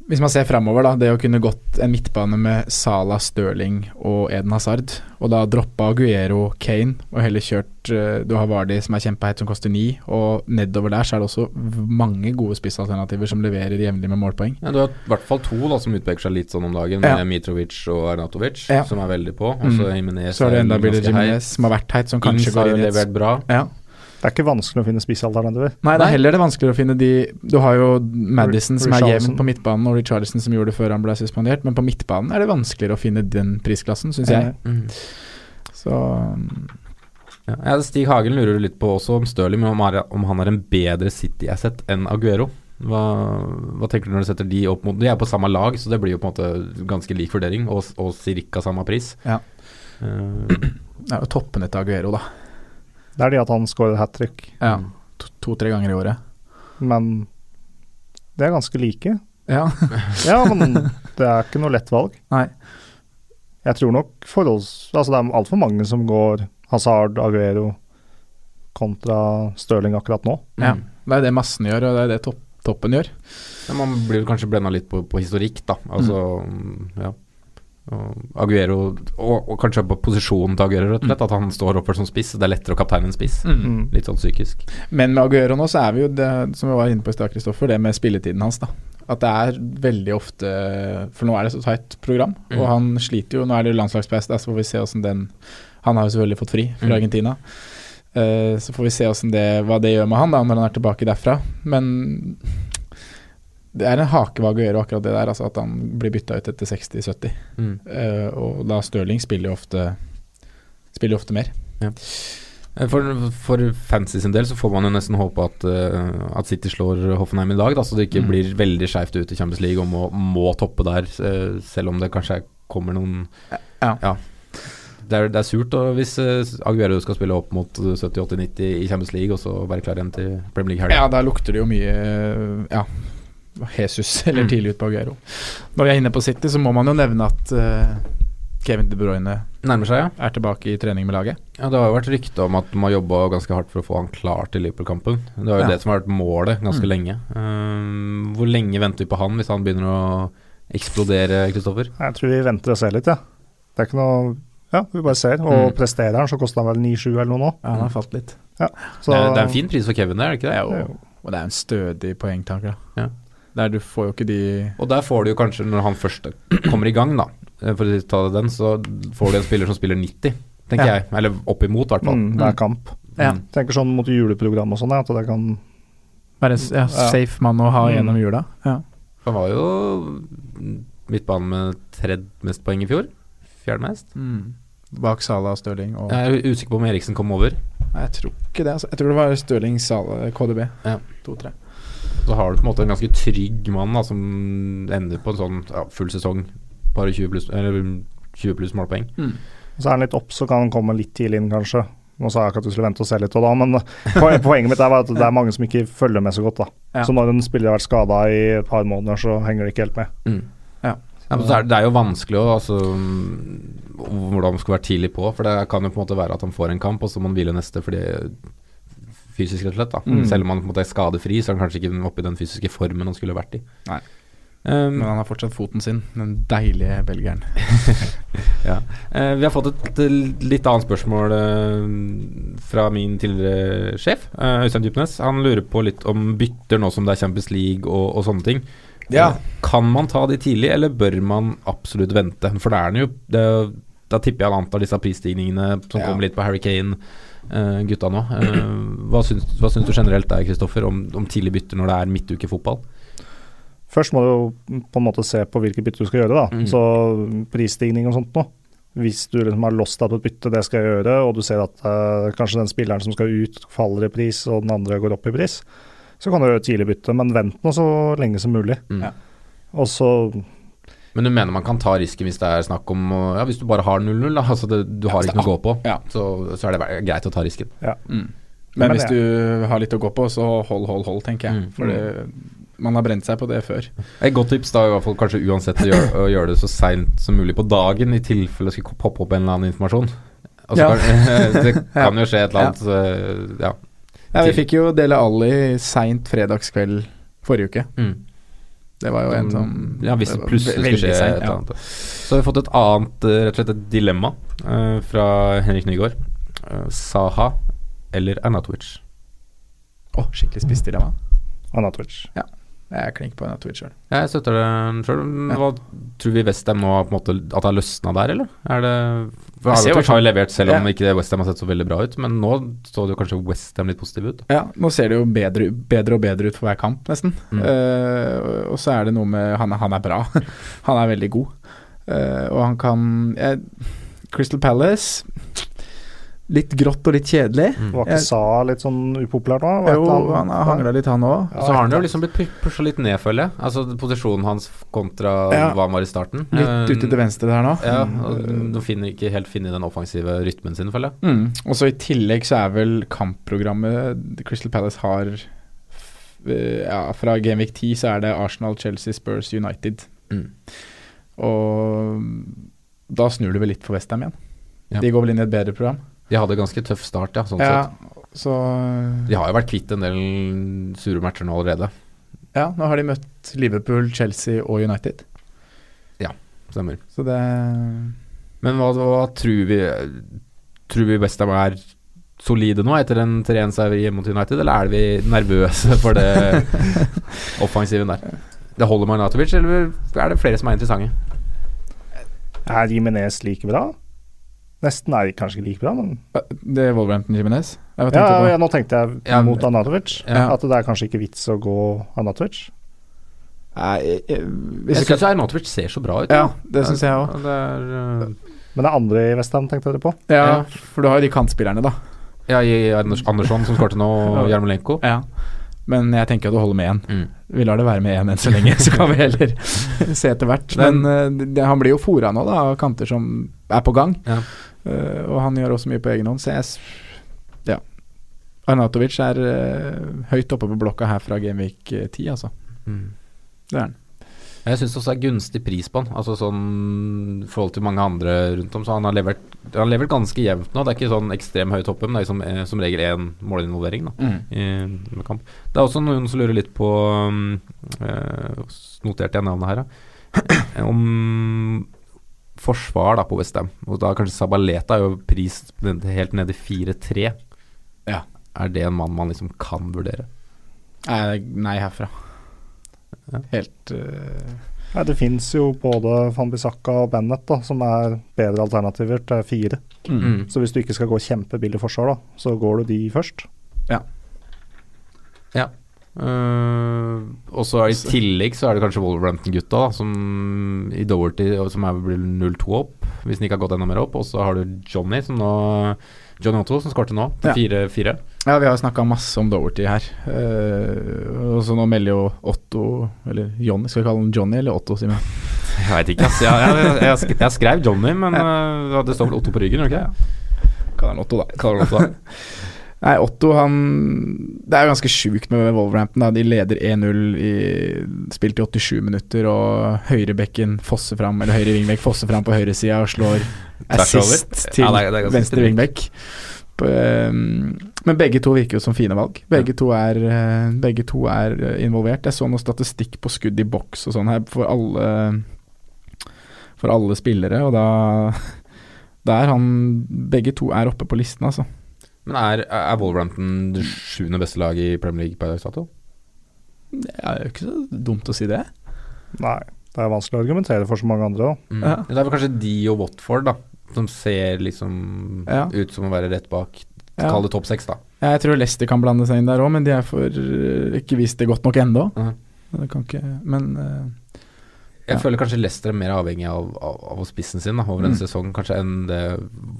D: Hvis man ser framover, da. Det å kunne gått en midtbane med Salah, Stirling og Eden Hazard, og da droppa Aguero Kane og heller kjørt eh, Du har Vardy som er kjempeheit, som koster ni, og nedover der så er det også v- mange gode spissalternativer som leverer jevnlig med målpoeng.
A: Ja, du har i hvert fall to da, som utpeker seg litt sånn om dagen,
D: Ja.
A: med Mitrovic og Arnatovic,
D: Ja.
A: som er veldig på. Og så
D: Mm.
A: Jimenez
D: Så er det enda Billy
A: ganske heit.
D: Jiminez som har vært heit, som kanskje
A: Ings har
D: går
A: jo
D: inn i et
A: levert bra.
D: ja.
E: Det er ikke vanskelig å finne spissalternativer.
D: Nei, det
A: Nei.
D: er heller det vanskeligere å finne de Du har jo Madison som er jevn
E: Richarlison.
D: på midtbanen, og Richarlison som gjorde det før han ble suspendert, men på midtbanen er det vanskeligere å finne den prisklassen, syns jeg. Så um,
A: Ja. Ja, Stig Hagen lurer litt på også om Stirling, men om, er- om han er en bedre City-asset enn Aguero. Hva, hva tenker du når du setter de opp mot De er på samme lag, så det blir jo på en måte ganske lik vurdering, og, og cirka samme pris.
D: Ja.
A: Eh,
D: det er jo toppene til Aguero, da.
E: Det er det at han scorer hat trick,
D: Ja.
A: Mm.
D: To- To-tre ganger i året.
E: men det er ganske like.
A: Mm.
D: Ja.
E: Ja, men det er ikke noe lett valg.
D: Nei.
E: Jeg tror nok forholds... Altså, det er altfor mange som går Hazard, Aguero kontra Stirling akkurat nå.
D: ja. Det er det massen gjør, og det er det topp, toppen gjør.
A: Men man blir vel kanskje blenda litt på, på historikk, da. Altså, ja. Og Aguero og, og kanskje på posisjonen til Aguero, rett og slett. At han står oppført som spiss. Det er lettere å kapteine en spiss.
E: Mm.
A: Litt sånn psykisk.
D: Men med Aguero nå, så er vi jo det som vi var inne på i stad, Kristoffer, det med spilletiden hans, da. At det er veldig ofte For nå er det så tight program,
A: Mm.
D: og han sliter jo. Nå er det jo landslagspause, da, så får vi se åssen den Han har jo selvfølgelig fått fri fra
A: Mm.
D: Argentina. Eh, så får vi se hvordan det, hva det gjør med han da når han er tilbake derfra. Men det er en hake ved Aguero, akkurat det der. Altså at han blir bytta ut etter 60-70.
A: Mm.
D: Eh, og da Stirling spiller jo ofte Spiller jo ofte mer.
A: Eh, For, for Fancy sin del så får man jo nesten håpe at, eh, at City slår Hoffenheim i dag, da, så det ikke
D: Mm.
A: blir veldig skeivt ut i Champions League og må, må toppe der, eh, selv om det kanskje er- kommer noen
D: Ja.
A: Det er, det er surt da, hvis eh, Aguero skal spille opp mot eh, 70-80-90 i Champions League og så være klar igjen til Premier League-helga.
D: Ja, da lukter det jo mye eh, ja, Jesus
A: Mm.
D: eller tidlig ut på Aguero. Når vi er inne på City, så må man jo nevne at eh, Kevin De Bruyne
A: Nærmer seg, ja.
D: er tilbake i trening med laget.
A: Ja, Det har jo vært rykte om at de har jobba ganske hardt for å få han klar til Liverpool-kampen. Det er jo
D: Ja.
A: det som har vært målet ganske
D: Mm.
A: lenge. Um, hvor lenge venter vi på han hvis han begynner å eksplodere, Kristoffer?
E: Jeg tror vi venter og ser litt, jeg. Ja. Det er ikke noe Ja, vi bare ser. Og
A: Mm.
E: presterer han, så koster han vel 9-7 eller noe nå.
D: Ja, han har falt litt.
E: Så
A: Det er, det er en fin pris for Kevin, det er det ikke
D: Det
A: det?
D: er jo, og det er en stødig poengtaker, da.
A: Ja.
D: Der du får jo ikke de
A: Og der får du jo kanskje, når han først kommer i gang, da, eh, for å ta den, så får du en spiller som spiller 90, tenker
D: Ja.
A: jeg. Eller oppimot, i hvert fall.
E: mm, det er kamp.
D: Ja.
A: Mm.
E: Tenker sånn mot juleprogram og sånn, ja, at det kan
D: Være en s- ja, safe mann å ha
E: Mm.
D: gjennom jula. Ja.
A: Han var jo midtbanen med tredje mest poeng i fjor. Fjerde mest.
D: Mm. Bak Sala og Stirling og
A: Jeg er usikker på om Eriksen kom over.
D: Nei, Jeg tror ikke det, altså. Jeg tror det var eh, Stirling, Sala, KDB.
A: Ja.
D: To-tre.
A: Så har du på en måte en ganske trygg mann da, som ender på en sånn ja, full sesong, bare 20 pluss, eller 20 pluss målpoeng.
E: Så er han litt opp, så kan han komme litt tidlig inn, kanskje. Nå sa jeg ikke at du skulle vente og se litt, og da, men poen- poenget mitt er bare at det er mange som ikke følger med så godt. da.
D: Ja.
E: Så når en spiller har vært skada i et par måneder, så henger det ikke helt med.
A: Mm. Ja, men så er, det- det er jo vanskelig å altså, mm, hvordan man skal være tidlig på, for det kan jo på en måte være at han får en kamp, og så må han hvile neste fordi fysisk rett og slett. da
D: Mm.
A: Selv om han på en måte er skadefri, så er han kanskje ikke oppe i den fysiske formen han skulle vært i.
D: Nei.
A: Um,
D: Men han har fortsatt foten sin, den deilige belgieren.
A: Eh, vi har fått et eh, litt annet spørsmål eh, fra min tidligere sjef, eh, Øystein Djupnes. Han lurer på litt om bytter nå som det er Champions League og, og sånne ting.
D: Ja.
A: Eh, Kan man ta de tidlig, eller bør man absolutt vente? For det er den jo. Det, er jo- da tipper jeg han antar disse prisstigningene som
D: Ja.
A: kommer litt på Harry Kane. eh, gutta nå. Eh, hva, syns, hva syns du generelt der, Kristoffer, om, om tidlig bytter når det er midtukefotball?
E: Først må du jo på en måte se på hvilket bytte du skal gjøre, da.
A: Mm.
E: Så prisstigning og sånt noe. Hvis du liksom har lost deg på et bytte, det skal jeg gjøre, og du ser at eh, kanskje den spilleren som skal ut, faller i pris, og den andre går opp i pris, så kan du gjøre et tidlig bytte, men vent nå så lenge som mulig.
A: Mm.
D: Ja.
E: Og så
A: Men du mener man kan ta risken hvis det er snakk om å- Ja, hvis du bare har 0-0, da. Altså det, du har
D: hvis
A: ikke noe å gå på.
D: Ja.
A: Så, så er det ve- greit å ta risken.
D: Men,
E: Men
D: hvis
E: det-
D: du har litt å gå på, så hold, hold, hold, tenker jeg.
A: Mm.
D: For det, man har brent seg på det før.
A: Et godt tips da er i hvert fall kanskje uansett å gjøre, å gjøre det så seint som mulig på dagen, i tilfelle det skulle poppe opp en eller annen informasjon. Altså,
D: Ja.
A: kan, det kan jo skje et eller annet eh, Ja.
D: Ja,
A: Til-
D: vi
A: Mm.
D: fikk jo Dele Alli seint fredagskveld forrige uke. Det var jo en som
A: Ja, hvis
D: det var
A: plutselig
D: Mm. veldig
A: skulle skje
D: seint,
A: et eller annet. Så har vi fått et annet, eh, rett og slett et dilemma eh, fra Henrik Nygaard. Eh, Saha eller Anatovic?
D: Ja. Å, skikkelig spissdilemma.
E: Anatovic.
D: Jeg er klink på en av Twitch sjøl.
A: Jeg støtter den sjøl.
D: Ja.
A: Hva tror vi Westham nå har på en måte at det har løsna der, eller? Er det for
D: Jeg ser
A: Anatovic
D: hvertfall-
A: har jo levert selv om
D: Ja.
A: ikke Westham har sett så veldig bra ut, men nå så det jo kanskje Westham litt positiv ut.
D: Ja, nå ser det jo bedre, bedre og bedre ut for hver kamp, nesten.
A: Mm.
D: Eh, og så er det noe med Han, er- han er bra. han er veldig god. Eh, og han kan jeg, Crystal Palace Litt grått og litt kjedelig.
E: Var
D: Jeg-
E: ikke Sa litt sånn upopulær nå? Var et eller
D: Jo,
E: annet-
D: han har hangla litt, han òg.
E: Ja,
A: Så har han jo
E: et
A: liksom blitt pusha litt ned, føler jeg. Altså posisjonen hans kontra
D: Ja.
A: hva han var i starten. Eh,
D: Litt ute til venstre der nå.
A: Ja, og de finner ikke helt finne den offensive rytmen sin, føler jeg.
D: Mm. Og så i tillegg så er vel kampprogrammet Crystal Palace har f- eh, Ja, fra Gamevik 10 så er det Arsenal, Chelsea, Spurs, United.
A: Mm.
D: Og da snur det vel litt for Westham igjen.
A: Ja.
D: De går vel inn i et bedre program.
A: De hadde ganske tøff start, ja. Sånn
D: ja,
A: sett.
D: så
A: De har jo vært kvitt en del sure matcher nå allerede.
D: Ja, nå har de møtt Liverpool, Chelsea og United.
A: Stemmer.
D: Så det
A: Men hva, hva tror vi Tror vi Westham er solide nå etter en 3-1-seier hjemme mot United, eller er vi nervøse for det offensiven der? Det holder med Arnatovic, eller er det flere som er interessante?
E: Er Jimenez like bra? Nesten er kanskje ikke like bra, men
D: Det er Wolverhampton Jimenez? Jeg
E: ja,
D: tenkte på
E: ja, Nå tenkte jeg
A: Ja,
E: mot Anatovic.
D: ja.
E: At det er kanskje ikke vits å gå Anatovic.
D: Nei, jeg- jeg- hvis
A: Jeg
D: jeg kan-
A: syns Arnatovic ser så bra ut.
D: Ja,
A: da.
D: det syns jeg òg.
A: Ja, Det er, øh,
E: Men det andre i Westham tenkte dere på.
D: Ja,
A: Ja.
D: for du har jo de kantspillerne, da.
A: ja, i Anders, Andersson som skårte nå, og Jarmolenko.
D: Ja. Men jeg tenker at det holder med én.
A: Mm.
D: Vi lar det være med én enn så lenge, så kan vi heller se etter hvert. Men eh, det, han blir jo fora nå, da, av kanter som er på gang.
A: Ja.
D: Eh, og han gjør også mye på egen hånd, så jeg s- Ja. Arnatovic er eh, høyt oppe på blokka her fra Genvik 10, altså.
A: Mm.
D: Det er han.
A: Jeg syns også det er gunstig pris på han, altså sånn i forhold til mange andre rundt om. Så han har levert, han har levert ganske jevnt nå. Det er ikke sånn ekstrem høyt hoppe, men det er liksom, eh, som regel én målinvolvering da, i med kamp. Det er også noen som lurer litt på um, eh, s- Noterte jeg navnet her, da? Om forsvar da på Westham. Og da kanskje Sabaleta er jo pris ned- helt ned i 4-3.
D: Ja.
A: Er det en mann man liksom kan vurdere?
D: Nei, Eh, nei herfra.
A: Ja.
D: Helt eh,
E: Nei, det fins jo både Van Bissaka og Bennett, da, som er bedre alternativer til fire.
A: Mm.
E: Så hvis du ikke skal gå kjempebillig forsvar, da, så går du de først.
A: Eh, og så er det I tillegg så er det kanskje Wolverhampton-gutta da som i Doherty og som er vel 0-2 opp, hvis den ikke har gått enda mer opp. Og så har du Johnny som nå Johnny Otto som skårte nå,
D: Ja.
A: på 4-4.
D: Ja, vi har snakka masse om Doverty her. Eh, og så nå melder jo Otto Eller Johnny, skal vi kalle han Johnny eller Otto, Simen?
A: Jeg veit ikke, ass. Jeg, jeg, jeg, sk- jeg skrev Johnny, men eh, det står vel Otto på ryggen, gjør det ikke? det?
D: Kall han Otto, da.
A: Kaller han Otto da.
D: Nei, Otto han Det er jo ganske sjukt med Wolverhampton. Da. De leder 1-0, i- spilt i 87 minutter, og høyrebekken fosser fram, eller høyre vingbekk fosser fram på høyresida og slår
A: Tvers over.
D: assist til
A: Ja, det er- det er ganske
D: venstre
A: sterkt.
D: vingbekk. På, ehm, Men begge to virker jo som fine valg. Begge to er, eh, begge to er eh, involvert. Jeg så noe statistikk på skudd i boks og sånn her for alle, for alle spillere, og da da er han Begge to er oppe på listen, altså.
A: Men er, er Wolverhampton det sjuende beste laget i Premier League per dags dato?
D: Det er jo ikke så dumt å si det.
E: Nei, det er vanskelig å argumentere for så mange andre, da.
A: Mm.
D: Ja.
A: Det er vel kanskje de og Watford, da, som ser liksom
D: Ja.
A: ut som å være rett bak.
D: Ja.
A: Kall det topp seks, da.
D: Jeg tror Leicester kan blande seg inn der òg, men de er for eh, ikke vist det godt nok ennå.
A: Mhm.
D: Det kan ikke Men eh,
A: Jeg
D: Ja.
A: føler kanskje Leicester er mer avhengig av, av, av spissen sin da, over en
D: Mm.
A: sesong kanskje enn det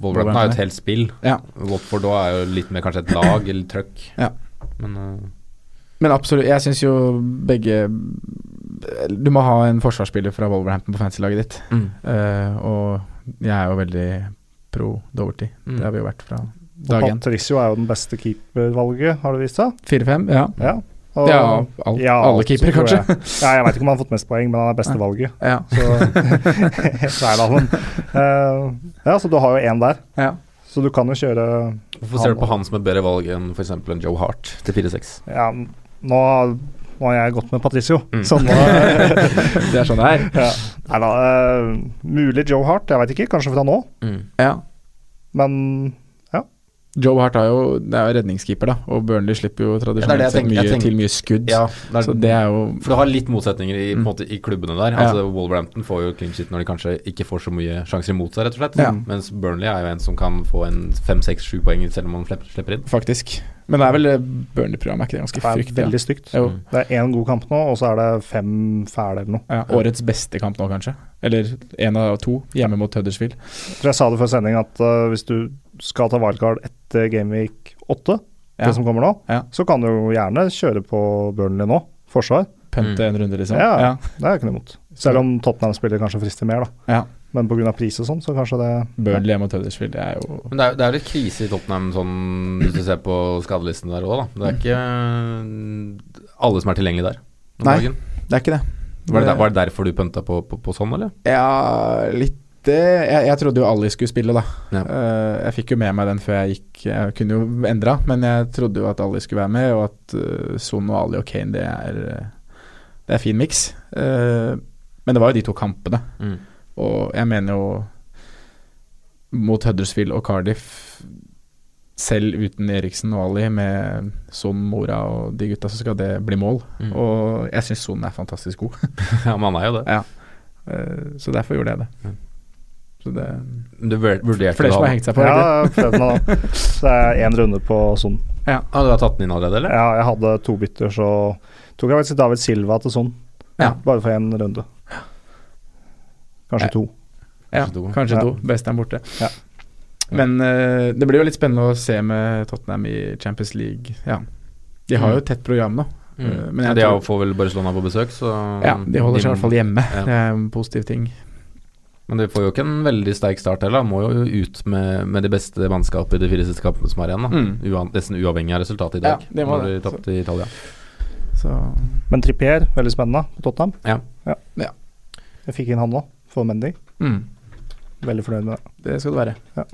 A: Wolverhampton
D: Wolverhampton
A: er jo
D: er.
A: et helt spill.
D: Ja.
A: Watford da er jo litt mer kanskje et lag eller trøkk.
D: Ja.
A: Men eh,
D: Men absolutt, jeg syns jo begge Du må ha en forsvarsspiller fra Wolverhampton på fancylaget ditt. Eh, og jeg er jo veldig pro Doverty.
A: Mm.
D: Det har vi jo vært fra
E: Og
D: dag én.
E: Patricio er jo den beste keepervalget, har det vist seg.
D: 4-5, ja.
E: Ja. Og-
D: ja, alt,
E: ja,
D: alle
E: altså,
D: keepere,
E: tror jeg.
D: kanskje.
E: Ja, jeg veit ikke om han har fått mest poeng, men han er beste valget.
D: Ja.
E: Så, så er det han. Eh, ja, så du har jo én der.
D: Ja.
E: Så du kan jo kjøre
A: Hvorfor ser du på han som et bedre valg enn f.eks. en Joe Hart til 4-6?
E: Ja, nå Nå har jeg gått med Patricio,
A: Mm.
E: så nå
D: Det er sånn det er.
E: ja. Nei da. eh, mulig Joe Hart, jeg veit ikke. Kanskje fra nå,
A: Mm.
D: Ja.
E: men
D: Joe Hart er jo, det er jo redningskeeper, da, og Burnley slipper
A: Ja,
D: jo
A: det er
D: tradisjonelt
A: det jeg
D: sett
A: tenker- jeg
D: mye,
A: tenker-
D: til mye skudd.
A: Ja, det er,
D: Så det er jo
A: for det har litt motsetninger i, på en
D: Mm.
A: måte, i klubbene der.
D: Ja.
A: Altså Wolverhampton får jo clean shit når de kanskje ikke får så mye sjanser imot seg, rett og slett.
D: Ja.
A: Mens Burnley er jo en som kan få en fem, seks, sju poeng selv om man slipper, slipper inn.
D: Faktisk. Men det er vel Burnley-programmet, er ikke det ganske
E: det er
D: fryktelig?
E: veldig stygt.
D: da? Jo.
A: Mm.
E: Det er én god kamp nå, og så er det fem fæle eller noe.
D: Ja, årets beste kamp nå, kanskje. Eller én av to, hjemme mot Huddersfield.
E: Jeg tror jeg sa det før sending at eh, hvis du skal ta wildcard etter Gameweek 8,
D: Ja.
E: det som kommer nå,
D: Ja.
E: så kan du jo gjerne kjøre på Burnley nå, forsvar.
D: Pønte en runde, liksom.
E: Ja.
D: Ja.
E: Det er jeg ikke noe imot. Selv om Tottenham-spiller kanskje frister mer, da.
D: Ja.
E: Men pga. pris og sånn, så kanskje det
D: Burnley hjemme mot Huddersfield, det er jo
A: Men det er, det er jo litt krise i Tottenham sånn, hvis du ser på skadelisten der òg, da. Det er ikke øh, alle som er tilgjengelige der. om
D: Nei.
A: dagen.
D: Det er ikke det.
A: Var det, der, var det derfor du pønta på, på, på sånn, eller?
D: Ja, litt det. Jeg, jeg trodde jo Ali skulle spille, da.
A: Ja.
D: Eh, jeg fikk jo med meg den før jeg gikk. Jeg kunne jo endra, men jeg trodde jo at Ali skulle være med, og at eh, Son og Ali og Kane, det er eh, Det er fin miks. Eh, men det var jo de to kampene,
A: Mm.
D: og jeg mener jo Mot Huddersfield og Cardiff, selv uten Eriksen og Ali, med Son, Mora og de gutta, så skal det bli mål.
A: Mm.
D: Og jeg syns Son er fantastisk god.
A: Ja, men han er jo det.
D: Eh, Så derfor gjorde jeg det.
A: Ja.
D: Så det
A: Men Du vur- vurderte
D: Flere
A: du
D: som har
A: han-
D: hengt seg på.
E: Ja,
D: eller?
E: jeg prøvde meg da. Så det er én runde på Son.
A: Ah, du har tatt den inn allerede, eller?
E: Ja, jeg hadde to bytter, så tok jeg faktisk David Silva til Son.
D: Ja.
E: Bare for én runde. Kanskje
D: Jeg-
E: to.
D: Ja,
A: Kanskje to.
D: kanskje
E: Ja.
D: to. Best er borte.
E: Ja.
D: Men eh, det blir jo litt spennende å se med Tottenham i Champions League. Ja. De har jo et tett program nå.
A: Mm.
D: Eh, men
A: Men
D: jeg
A: de
D: tror-
A: har- får vel Barcelona på besøk, så
D: Ja, De holder seg i hvert fall hjemme.
A: Ja.
D: Det er en positiv ting.
A: Men de får jo ikke en veldig sterk start heller. Han Må jo ut med, med de beste mannskapene i de fire siste kampene som er igjen. da
D: Mm.
A: Uan, Nesten uavhengig av resultatet i
D: Ja,
A: dag,
D: det må
A: når de
D: det.
A: tapte i Italia.
D: Så
E: Men Trippier, veldig spennende på Tottenham.
A: Ja.
D: Ja.
E: Jeg fikk inn han nå, for Mendy.
D: mm,
E: Veldig fornøyd med det.
D: det skal det være.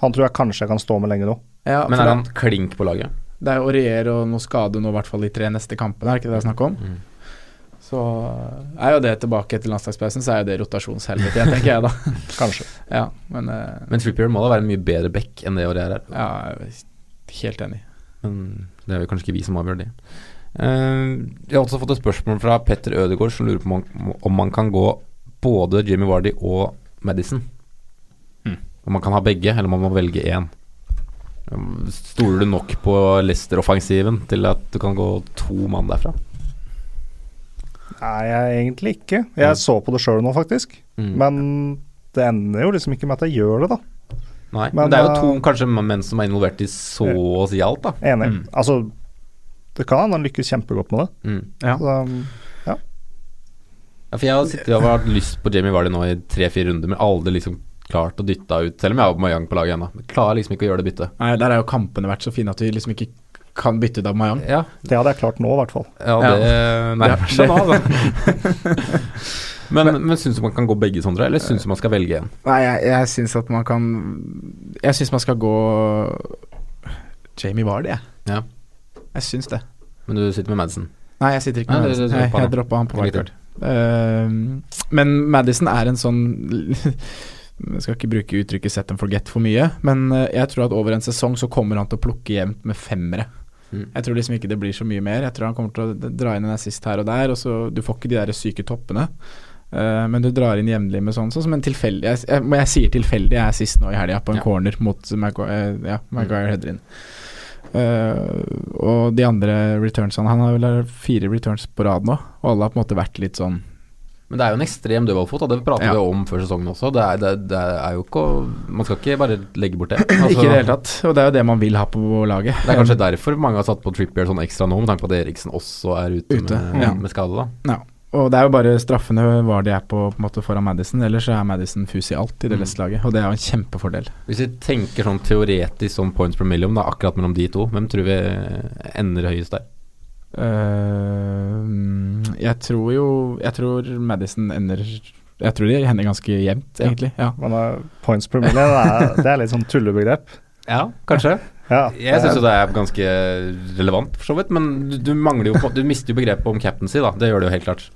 E: Han tror jeg kanskje jeg kan stå med lenge nå.
D: Ja,
A: Men
D: for
A: er han
D: det-
A: klink på laget?
D: Det er Aurier og noe skade nå, i hvert fall de tre neste kampene, er det ikke det det er snakk om?
A: Mm.
D: Så eh, er jo det tilbake etter landslagspausen, så er jo det rotasjonshelvete igjen, tenker jeg da.
E: Kanskje.
D: Ja, men eh,
A: Men Trippier må da være en mye bedre back enn det Aurier er.
D: ja, jeg er helt enig.
A: Men det er vel kanskje ikke vi som avgjør det. Eh, jeg har også fått et spørsmål fra Petter Ødegaard som lurer på om han, om han kan gå både Jimmy Wardy og Madison.
D: Mm.
A: Om man kan ha begge, eller om man må velge én. Um, Stoler du nok på Leicester-offensiven til at du kan gå to mann derfra?
E: Nei, jeg egentlig ikke. Jeg
A: Mm.
E: så på det sjøl nå, faktisk.
A: Mm.
E: Men det ender jo liksom ikke med at jeg gjør det, da.
A: Nei, men,
E: men
A: det er jo
E: da-
A: to kanskje menn som er involvert i så å si alt, da.
E: Enig.
D: Mm.
E: Altså, det kan hende han lykkes kjempegodt med det.
A: Mm.
D: Ja.
E: Så,
A: Ja, for jeg har sittet og hatt lyst på Jamie Vardy nå i tre-fire runder, men aldri liksom klart å dytte henne ut, selv om jeg har Mayang på laget ennå. Men Klarer liksom ikke å gjøre det byttet.
D: Nei, der er jo kampene vært så fine at vi liksom ikke kan bytte ut av Mayang.
A: Ja,
E: det hadde jeg klart nå, i hvert fall.
A: Ja,
D: Ja.
A: det Nei,
D: Det er
A: vær så snill, altså. Men, men syns du man kan gå begge, Sondre, eller syns du man skal velge en?
D: Nei, jeg, jeg syns at man kan Jeg syns man skal gå Jamie Vardy, jeg.
A: Ja.
D: Jeg syns det.
A: Men du sitter med Madsen.
D: Nei, jeg sitter ikke
A: Nei,
D: med
A: det- det-
D: Madison.
A: det-
D: Nei,
A: droppa
D: jeg droppa han på
A: Drit i.
D: wildcard. Ehm, men Madison er en sånn Jeg skal ikke bruke uttrykket set and forget for mye, men eh, jeg tror at over en sesong så kommer han til å plukke jevnt med femmere.
A: Mm.
D: Jeg tror liksom ikke det blir så mye mer. Jeg tror han kommer til å d- dra inn en assist her og der, og så du får ikke de der syke toppene. Eh, men du drar inn jevnlig med sånn, sånn som en tilfeldig jeg, jeg, men jeg sier tilfeldig, jeg er sist nå i helga på en
A: Ja.
D: corner mot Maguire, eh, ja, Maguire Hedrin. Eh, og de andre returnsene Han har vel fire returns på rad nå, og alle har på en måte vært litt sånn
A: Men det er jo en ekstrem dødballfot, og det prater
D: Ja.
A: vi om før sesongen også. Det er, det, det er jo ikke å- Man skal ikke bare legge bort det. Altså,
D: Ikke i det hele tatt, og det er jo det man vil ha på laget.
A: Det er kanskje derfor mange har satt på Trippier sånn ekstra nå, med tanke på at Eriksen også er ute,
D: Ute,
A: med,
D: ja.
A: med skade, da.
D: Og det er jo bare straffene var det er på, på en måte foran Madison, ellers så er Madison fus i alt i det
A: Mm.
D: Leicester-laget, og det er jo en kjempefordel.
A: Hvis vi tenker sånn teoretisk sånn points per million, da, akkurat mellom de to, hvem tror vi eh, ender høyest der?
D: Eh, jeg tror jo Jeg tror Madison ender Jeg tror de hender ganske jevnt, egentlig. Ja.
E: Men eh, points per million, det er, det er litt sånn tullebegrep.
A: Ja, kanskje.
E: Ja.
A: Jeg syns jo det er ganske relevant, for så vidt. Men du, du mangler jo på, Du mister jo begrepet om captaincy, da. Det gjør det jo helt klart.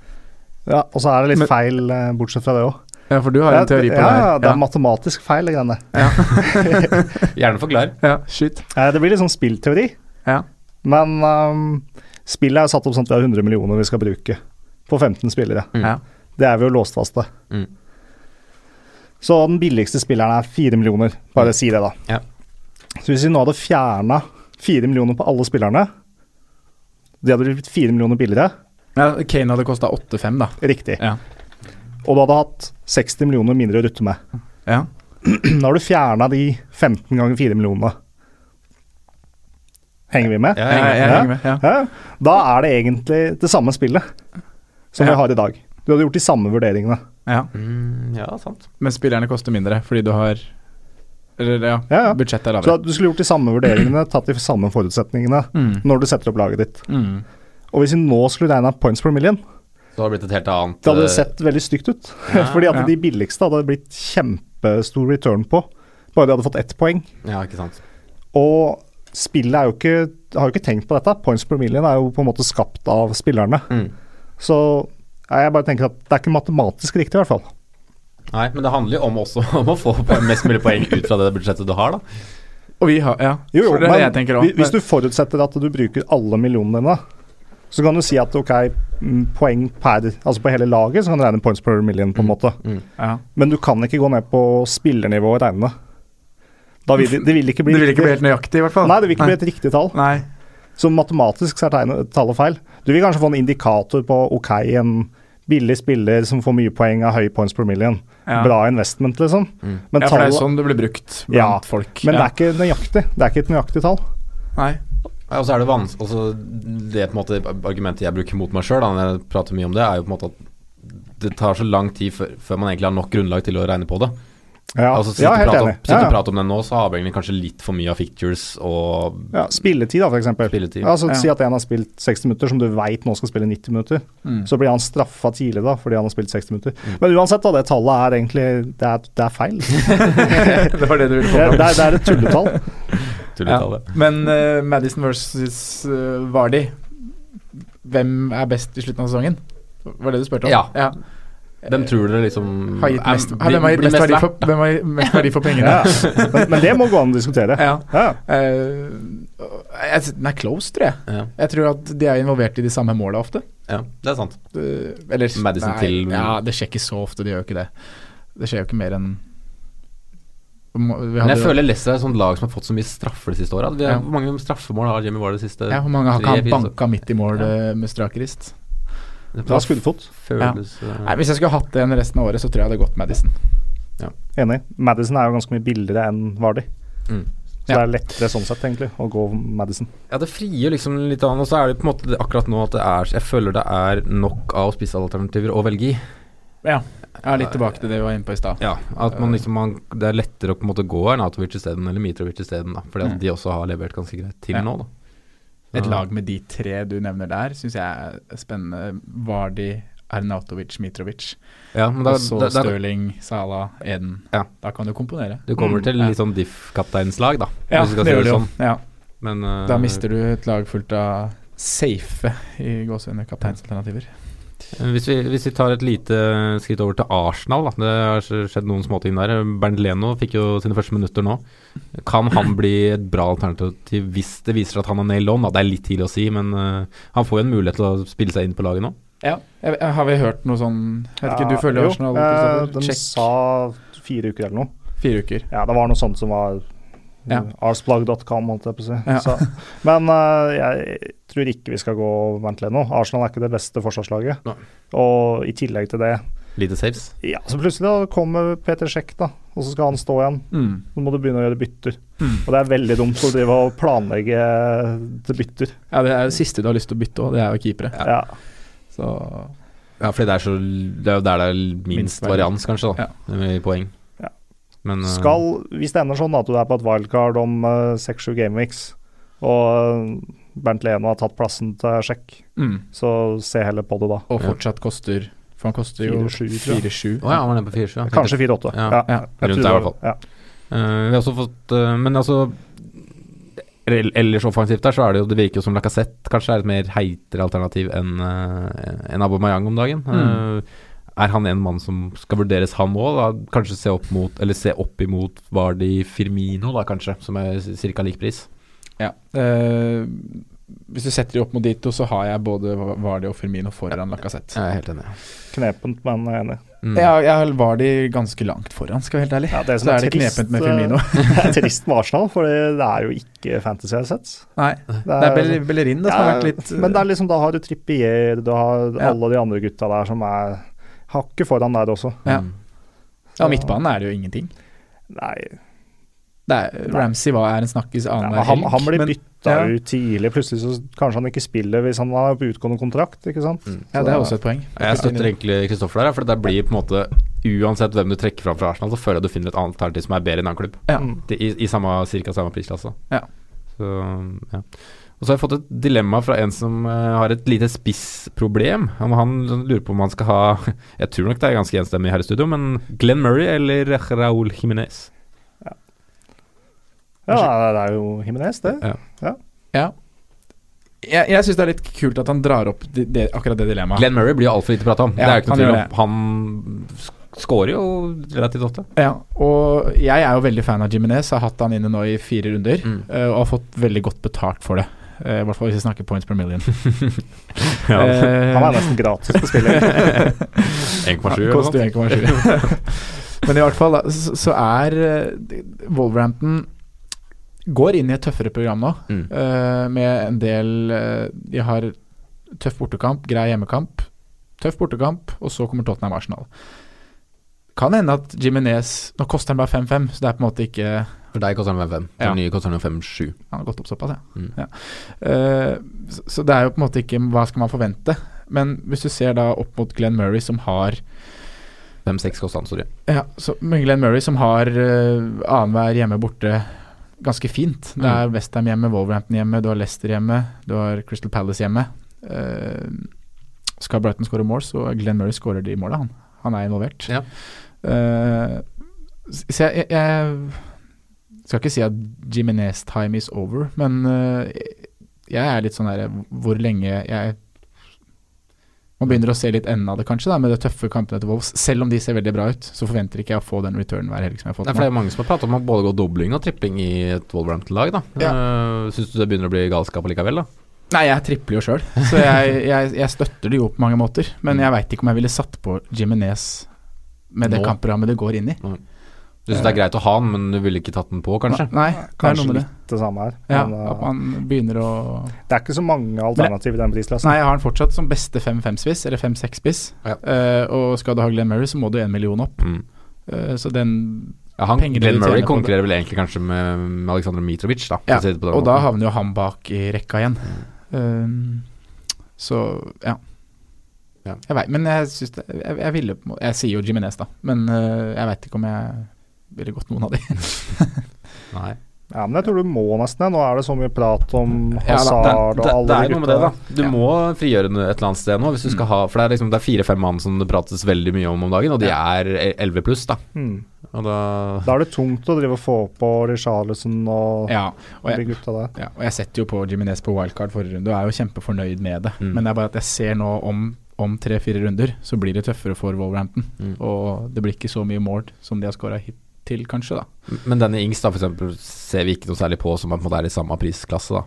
E: ja, og så er det litt
D: Men-
E: feil, eh, bortsett fra det òg.
D: Ja, for du har en teori på
E: ja,
D: det her.
E: ja, det er matematisk feil, de greiene.
A: Gjerne forklar.
D: ja, skyt.
E: Eh, Det blir litt sånn spillteori.
D: Ja.
E: Men ehm, spillet er jo satt opp sånn at vi har 100 millioner vi skal bruke på 15 spillere.
A: Mm.
D: Ja.
E: Det er vi jo låst fast til.
A: Mm.
E: Så den billigste spilleren er 4 millioner. Bare si det, da.
A: Mm. Ja.
E: Så hvis vi nå hadde fjerna 4 millioner på alle spillerne De hadde blitt 4 millioner billigere.
D: Ja, Kane hadde kosta 8-5, da.
E: Riktig.
D: Ja.
E: Og du hadde hatt 60 millioner mindre å rutte med.
D: Ja.
E: Da har du fjerna de 15 ganger 4 millionene. Henger vi med?
A: Ja,
D: Jeg, jeg,
A: jeg,
D: henger med. Ja.
E: Ja, da er det egentlig det samme spillet som
D: Ja.
E: vi har i dag. Du hadde gjort de samme vurderingene.
D: Ja.
A: mm, ja, sant.
D: Men spillerne koster mindre fordi du har Eller ja,
E: Ja, ja.
D: budsjettet er
E: Så
D: lavere.
E: at du skulle gjort de samme vurderingene, tatt de samme forutsetningene
D: Mm.
E: når du setter opp laget ditt.
D: Mm.
E: Og hvis vi nå skulle regna points per million,
A: Så har det blitt et helt annet
E: det hadde
A: eh,
E: sett veldig stygt ut.
A: Ja,
E: Fordi at
D: ja.
E: de billigste hadde blitt kjempestor return på, bare de hadde fått ett poeng.
A: eh, Ja, ikke sant.
E: Og spillet er jo ikke har jo ikke tenkt på dette. Points per million er jo på en måte skapt av spillerne.
A: Mm.
E: Så ja, jeg bare tenker at det er ikke matematisk riktig, i hvert fall.
A: Nei, men det handler jo om også om å få po- mest mulig poeng ut fra det budsjettet du har, da.
D: Og vi har Ja,
E: Jo, jo,
D: for det er det jeg tenker
E: men
D: også.
E: hvi- hvis du forutsetter at du bruker alle millionene dine, så kan du si at ok, mm, poeng per Altså på hele laget så kan du regne points per million,
A: Mm.
E: på en måte.
D: ja.
E: Men du kan ikke gå ned på spillernivå og regne. Da vil det, det vil ikke bli
D: Det vil ikke bli
E: riktig.
D: helt nøyaktig, i hvert fall.
E: Nei, det vil ikke bli et riktig tall.
D: Nei.
E: Så matematisk så er tegnet, tallet feil. Du vil kanskje få en indikator på ok, en billig spiller som får mye poeng av høy points per million.
D: Ja.
E: Bra investment, liksom.
A: Mm.
E: Men,
D: ja, for det er
E: tallet-
D: jo sånn det blir brukt blant
E: Ja,
D: folk.
E: men det
D: ja.
E: er ikke nøyaktig. Det er ikke et nøyaktig tall.
D: Nei.
A: Ja, Og så er det vanskelig altså, Det på en måte argumentet jeg bruker mot meg sjøl, når jeg prater mye om det, er jo på en måte at det tar så lang tid før, før man egentlig har nok grunnlag til å regne på det.
E: Ja,
A: altså, sitte
E: ja
A: og
E: helt
A: prate om,
E: enig.
A: sitte
E: Ja,
A: og
E: ja.
A: prate om det nå, så har vi egentlig kanskje litt for mye av fictures og
E: Ja, spilletid, da, f.eks.
A: Spilletid.
E: Altså,
D: Ja.
E: Si at en har spilt 60 minutter, som du veit nå skal spille 90 minutter.
D: Mm.
E: Så blir han straffa tidlig da, fordi han har spilt 60 minutter. Men uansett, da, det tallet er egentlig Det er, det er feil. Det
D: det var det du ville få
E: er,
D: fram.
E: det er- det er et tulletall.
A: tulletallet.
D: Men eh, Madison versus eh, Vardy Hvem er best i slutten av sesongen? Var det du spurte om?
A: Ja. Hvem tror dere liksom
D: Har gitt
A: er-
D: mest,
A: blir-
D: har, hvem har gitt
A: blir
D: mest verdi
A: verdt?
D: for, hvem har gitt mest verdi for pengene?
E: Ja. Men, men det må gå an å diskutere.
D: Ja.
E: Ja.
D: Eh, jeg, den er close, tror jeg.
A: Ja,
D: Jeg tror at de er involvert i de samme måla ofte.
A: ja, det er sant.
D: Eh, eller
A: Madison
D: nei,
A: til-
D: Ja, det skjer ikke så ofte, de gjør jo ikke det. Det skjer jo ikke mer enn Må- vi
A: Men jeg
D: hadde-
A: føler Leicester er et sånt lag som har fått så mye straffer de siste åra. Hvor
D: Ja.
A: mange straffemål har Jimmy Ward det siste
D: ja, Hvor mange har ikke
A: tre,
D: han
A: fire, så-
D: banka midt i mål
A: Ja.
D: eh, med strak rist?
A: Det
E: Det var skuddfot.
A: føles eh,
D: Nei, Hvis jeg skulle hatt den resten av året, så tror jeg det hadde gått Madison.
E: Enig. Madison er jo ganske mye billigere enn Vardy.
A: Mm.
E: Så det er lettere sånn sett, egentlig, å gå Madison.
A: Ja, det frigjør liksom litt annet. Og så er det på en måte det, akkurat nå at det er Jeg føler det er nok av spissalternativer å velge i.
D: Ja, jeg er litt tilbake til det vi var inne på i stad.
A: Ja, at man liksom man, Det er lettere å på en måte gå Arnatovic isteden eller Mitrovic isteden, da. Fordi at
D: Mm.
A: de også har levert ganske greit til
D: Ja.
A: nå, da.
D: Et
A: Ja.
D: lag med de tre du nevner der, syns jeg er spennende. Vardi, Arnautovic, Mitrovic.
A: Ja, men da,
D: Og så
A: da, da
D: Stirling, Salah, Eden.
A: Ja.
D: Da kan du komponere.
A: Du kommer til
D: Mm.
A: litt sånn diff-kapteinslag, da.
D: Ja,
A: hvis du skal
D: det
A: si
D: gjør du jo.
A: sånn.
D: Ja.
A: Men eh,
D: Da mister du et lag fullt av safe i gåsehudene kapteinsalternativer.
A: Hvis vi, hvis vi tar et lite skritt over til Arsenal, da. det har sk- skjedd noen småting der. Bernt Leno fikk jo sine første minutter nå. Kan han bli et bra alternativ hvis det viser seg at han er nailed on? Da? Det er litt tidlig å si, men eh, han får jo en mulighet til å spille seg inn på laget nå.
D: Ja. Jeg, jeg, har vi hørt noe sånn Jeg vet ikke, du følger
E: Ja, jo.
D: Arsenal?
E: Eh,
D: Kristoffer?
E: De
D: Sjekk.
E: sa fire uker eller noe.
D: Fire uker.
E: Ja, det var noe sånt som var
D: Ja.
E: Arsblog.com, holdt jeg på å si.
D: Ja.
E: Så, men eh, jeg tror ikke vi skal gå Bernt Leno. Arsenal er ikke det beste forsvarslaget.
A: Nei.
E: Og i tillegg til det
A: Lite saves.
E: Ja, så plutselig da kommer Peter Sjekk, da. Og så skal han stå igjen.
D: Mm.
E: Så må du begynne å gjøre bytter.
D: Mm.
E: Og det er veldig dumt å drive og planlegge til bytter.
D: Ja, det er det siste du har lyst til å bytte òg, det er jo keepere.
A: Ja.
E: Ja.
D: Så
A: Ja, fordi det er, så, det er jo der det er minst,
D: Minst verdi.
A: varians, kanskje, da, i poeng.
E: Ja.
A: Men eh,
E: Skal, hvis det ender sånn da, at du er på et wildcard om eh, seks-sju gameweeks, og eh, Bernt Leno har tatt plassen til Sjekk,
D: mm.
E: så se heller på det da.
D: Og
A: Ja.
D: fortsatt koster For han koster jo
E: 4-7, tror jeg.
D: 4-7.
A: Å ja, han var nede på 4-7. ja.
E: Kanskje 4-8.
A: Ja.
E: Ja.
D: Ja.
E: Jeg
A: Rundt der
E: tror
A: i
E: det-
A: hvert
E: Ja.
A: Eh, vi har også fått eh, Men altså el- ellers offensivt der, så er det jo Det virker jo som Lacassette kanskje er et mer heitere alternativ enn eh, enn Aubameyang om dagen.
D: Mm.
A: Eh, er han en mann som skal vurderes, han òg? Kanskje se opp mot Eller se opp imot Vardi Firmino, da kanskje, som er ca. lik pris.
D: Ja. Eh, hvis du setter de opp mot de to, så har jeg både Vardi og Firmino foran Lacassette.
A: Jeg er helt enig.
E: Knepent, men eh, jeg er enig.
A: Mm.
D: Ja, jeg har Vardi ganske langt foran, skal jeg være helt ærlig.
E: Ja, det som
D: så
E: er
D: er det
E: trist,
D: knepent med
E: eh,
D: Firmino.
E: Det er trist med Arsenal, for det er jo ikke fantasy assets.
D: Nei, det er Bell Bellerin det som har vært litt eh,
E: Men det er liksom, da har du Trippier, du har
D: Ja.
E: alle de andre gutta der som er hakket foran der også.
D: ja.
A: Mm.
D: ja, midtbanen er det jo ingenting.
E: Nei,
D: Det er, Ramsey var, er en snakkis
E: nei
D: annenhver
E: men han, han blir
D: men-
E: bytta
D: ja.
E: ut tidlig. Plutselig så kanskje han ikke spiller hvis han er på utgående kontrakt, ikke sant.
A: Mm.
D: Ja, det er også et poeng.
A: Jeg støtter egentlig Kristoffer der, ja, for det der blir på en måte Uansett hvem du trekker fram fra Arsenal, så føler jeg du finner et annet alternativ som er bedre enn annen klubb.
D: Ja.
E: Mm.
A: Det- I, i samme, cirka samme prisklasse.
D: Ja.
A: Så, ja. Og så har jeg fått et dilemma fra en som eh, har et lite spissproblem. Han, han lurer på om han skal ha Jeg tror nok det er ganske enstemmig her i studio, men Glenn Murray eller Raúl Jiménez?
E: Ja, det er jo Himinez, det.
A: Ja.
D: Ja. Jeg, jeg syns det er litt kult at han drar opp det, det, akkurat det dilemmaet.
A: Glenn Murray blir jo altfor lite prata om. det
D: Ja,
A: er jo ikke noe
D: han
A: tvil
D: gjør
A: om. Han sk- scorer jo relativt ofte.
D: Ja, og jeg er jo veldig fan av Jiminez. Har hatt han inne nå i fire runder
A: Mm.
D: eh, og har fått veldig godt betalt for det. Eh, I hvert fall hvis jeg snakker points per million.
A: Ja,
E: Han
D: Eh,
E: er nesten gratis å spille.
A: 1,7
D: Ja,
A: eller noe
D: koster
A: sånt.
D: 1,7. Men i hvert fall da, så, så er eh, Wolverhampton går inn i et tøffere program nå,
A: Mm.
D: eh, med en del eh, De har tøff bortekamp, grei hjemmekamp, tøff bortekamp, og så kommer Tottenham Arsenal. Kan hende at Jiminez Nå koster han bare 5-5, så det er på en måte ikke
A: For deg koster han 5-5. For
D: Ja.
A: den nye koster han 5-7.
D: Han har gått opp såpass, ja.
A: Mm.
D: ja. Eh, så, så det er jo på en måte ikke Hva skal man forvente? Men hvis du ser da opp mot Glenn Murray, som har
A: 5-6 koster han, sorry.
D: Ja, så men Glenn Murray som har uh, annenhver hjemme borte ganske fint. Det er Westham hjemme, Wolverhampton hjemme, du har Leicester hjemme, du har Crystal Palace hjemme. Eh, skal Brighton skåre mål, så Glenn Murray skårer de måla, han. Han er involvert.
A: Ja.
D: Eh, så jeg, jeg, jeg skal ikke si at Jiminez time is over, men eh, jeg er litt sånn der Hvor lenge jeg Man begynner å se litt enden av det, kanskje, da, med de tøffe kampene til Wolves. Selv om de ser veldig bra ut, så forventer ikke jeg å få den returnen hver helg som jeg har fått
A: Nei, for det
D: nå.
A: er jo mange som har pratet om å både gå dobling og tripping i et Wolverhampton-lag, da.
D: Ja.
A: Eh, Syns du det begynner å bli galskap allikevel, da?
D: Nei, jeg tripler jo sjøl, så jeg, jeg, jeg støtter det jo på mange måter. Men jeg veit ikke om jeg ville satt på Jiminez med det
A: Nå?
D: kampprogrammet det går inn i.
A: Du syns det er greit å ha den, men du ville ikke tatt den på, kanskje?
D: Nei, det er
E: Kanskje
D: noe med det.
E: litt det samme her.
D: Ja,
E: men,
D: at
E: eh,
D: man begynner å
E: det er ikke så mange alternativer i den prisklassen.
D: Nei, jeg har han fortsatt som beste 5-5-spiss, eller 5-6-spiss.
A: Ja.
D: Eh, og skal du ha Glenn Murray, så må du en million opp.
A: Mm.
D: Eh, så den
A: Ja, han,
D: Pengene
A: Glenn
D: du
A: Murray
D: tjener på
A: konkurrerer vel egentlig kanskje med, med Aleksandr Mitrovic, da. Mm. for
D: Ja,
A: å si det på den
D: Og da
A: måten.
D: havner jo han bak i rekka igjen. Eh, så ja.
A: Ja.
D: Jeg veit, men jeg syns det jeg, jeg ville på en måte Jeg sier jo Jiminez, da, men eh, jeg veit ikke om jeg ville gått noen av de.
A: Nei.
E: Ja, men jeg tror du må nesten det. Nå er det så mye prat om
D: Ja, da,
E: Hazard og alle
A: det
E: de
A: er noe med
E: gutta
A: det,
E: der.
A: da. Du
D: Ja.
A: må frigjøre den et eller annet sted nå, hvis du skal ha For det er liksom det er fire-fem mann som det prates veldig mye om om dagen, og de er 11 pluss, da.
E: Mm.
A: Og da
E: Da er det tungt å drive og få på Richarlison og
D: Ja, og jeg,
E: de gutta der.
D: Ja, og jeg setter jo på Jiminez på wildcard forrige runde og er jo kjempefornøyd med det.
A: Mm.
D: Men det er bare at jeg ser nå om, om tre-fire runder så blir det tøffere for Wolverhampton.
A: Mm.
D: Og det blir ikke så mye mål som de har skåra hittil, kanskje, da.
A: Men denne Ings, da, for eksempel, ser vi ikke noe særlig på som er på en måte er i samme prisklasse, da.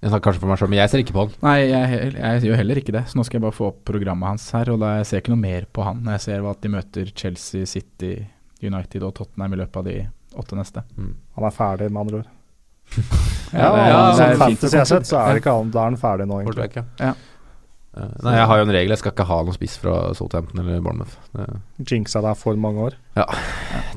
A: Jeg snakker kanskje for meg sjøl, men jeg ser ikke på han.
D: Nei, jeg, jeg, gjør heller ikke det, så nå skal jeg bare få opp programmet hans her. Og da jeg ser ikke noe mer på han. Jeg ser at de møter Chelsea, City, United og Tottenham i løpet av de åtte neste.
E: Han er ferdig, med andre ord. Ja,
D: Ja, det er-
A: ja,
E: sånn
D: det er fint å
E: fantasy jeg har sett, så er det ikke annet. Da er han ferdig nå, egentlig.
A: Forstår jeg ikke.
D: Ja.
A: Eh, Nei, jeg har jo en regel. Jeg skal ikke ha noen spiss fra Southampton eller Bournemouth. Det,
E: Jinxa deg for mange år.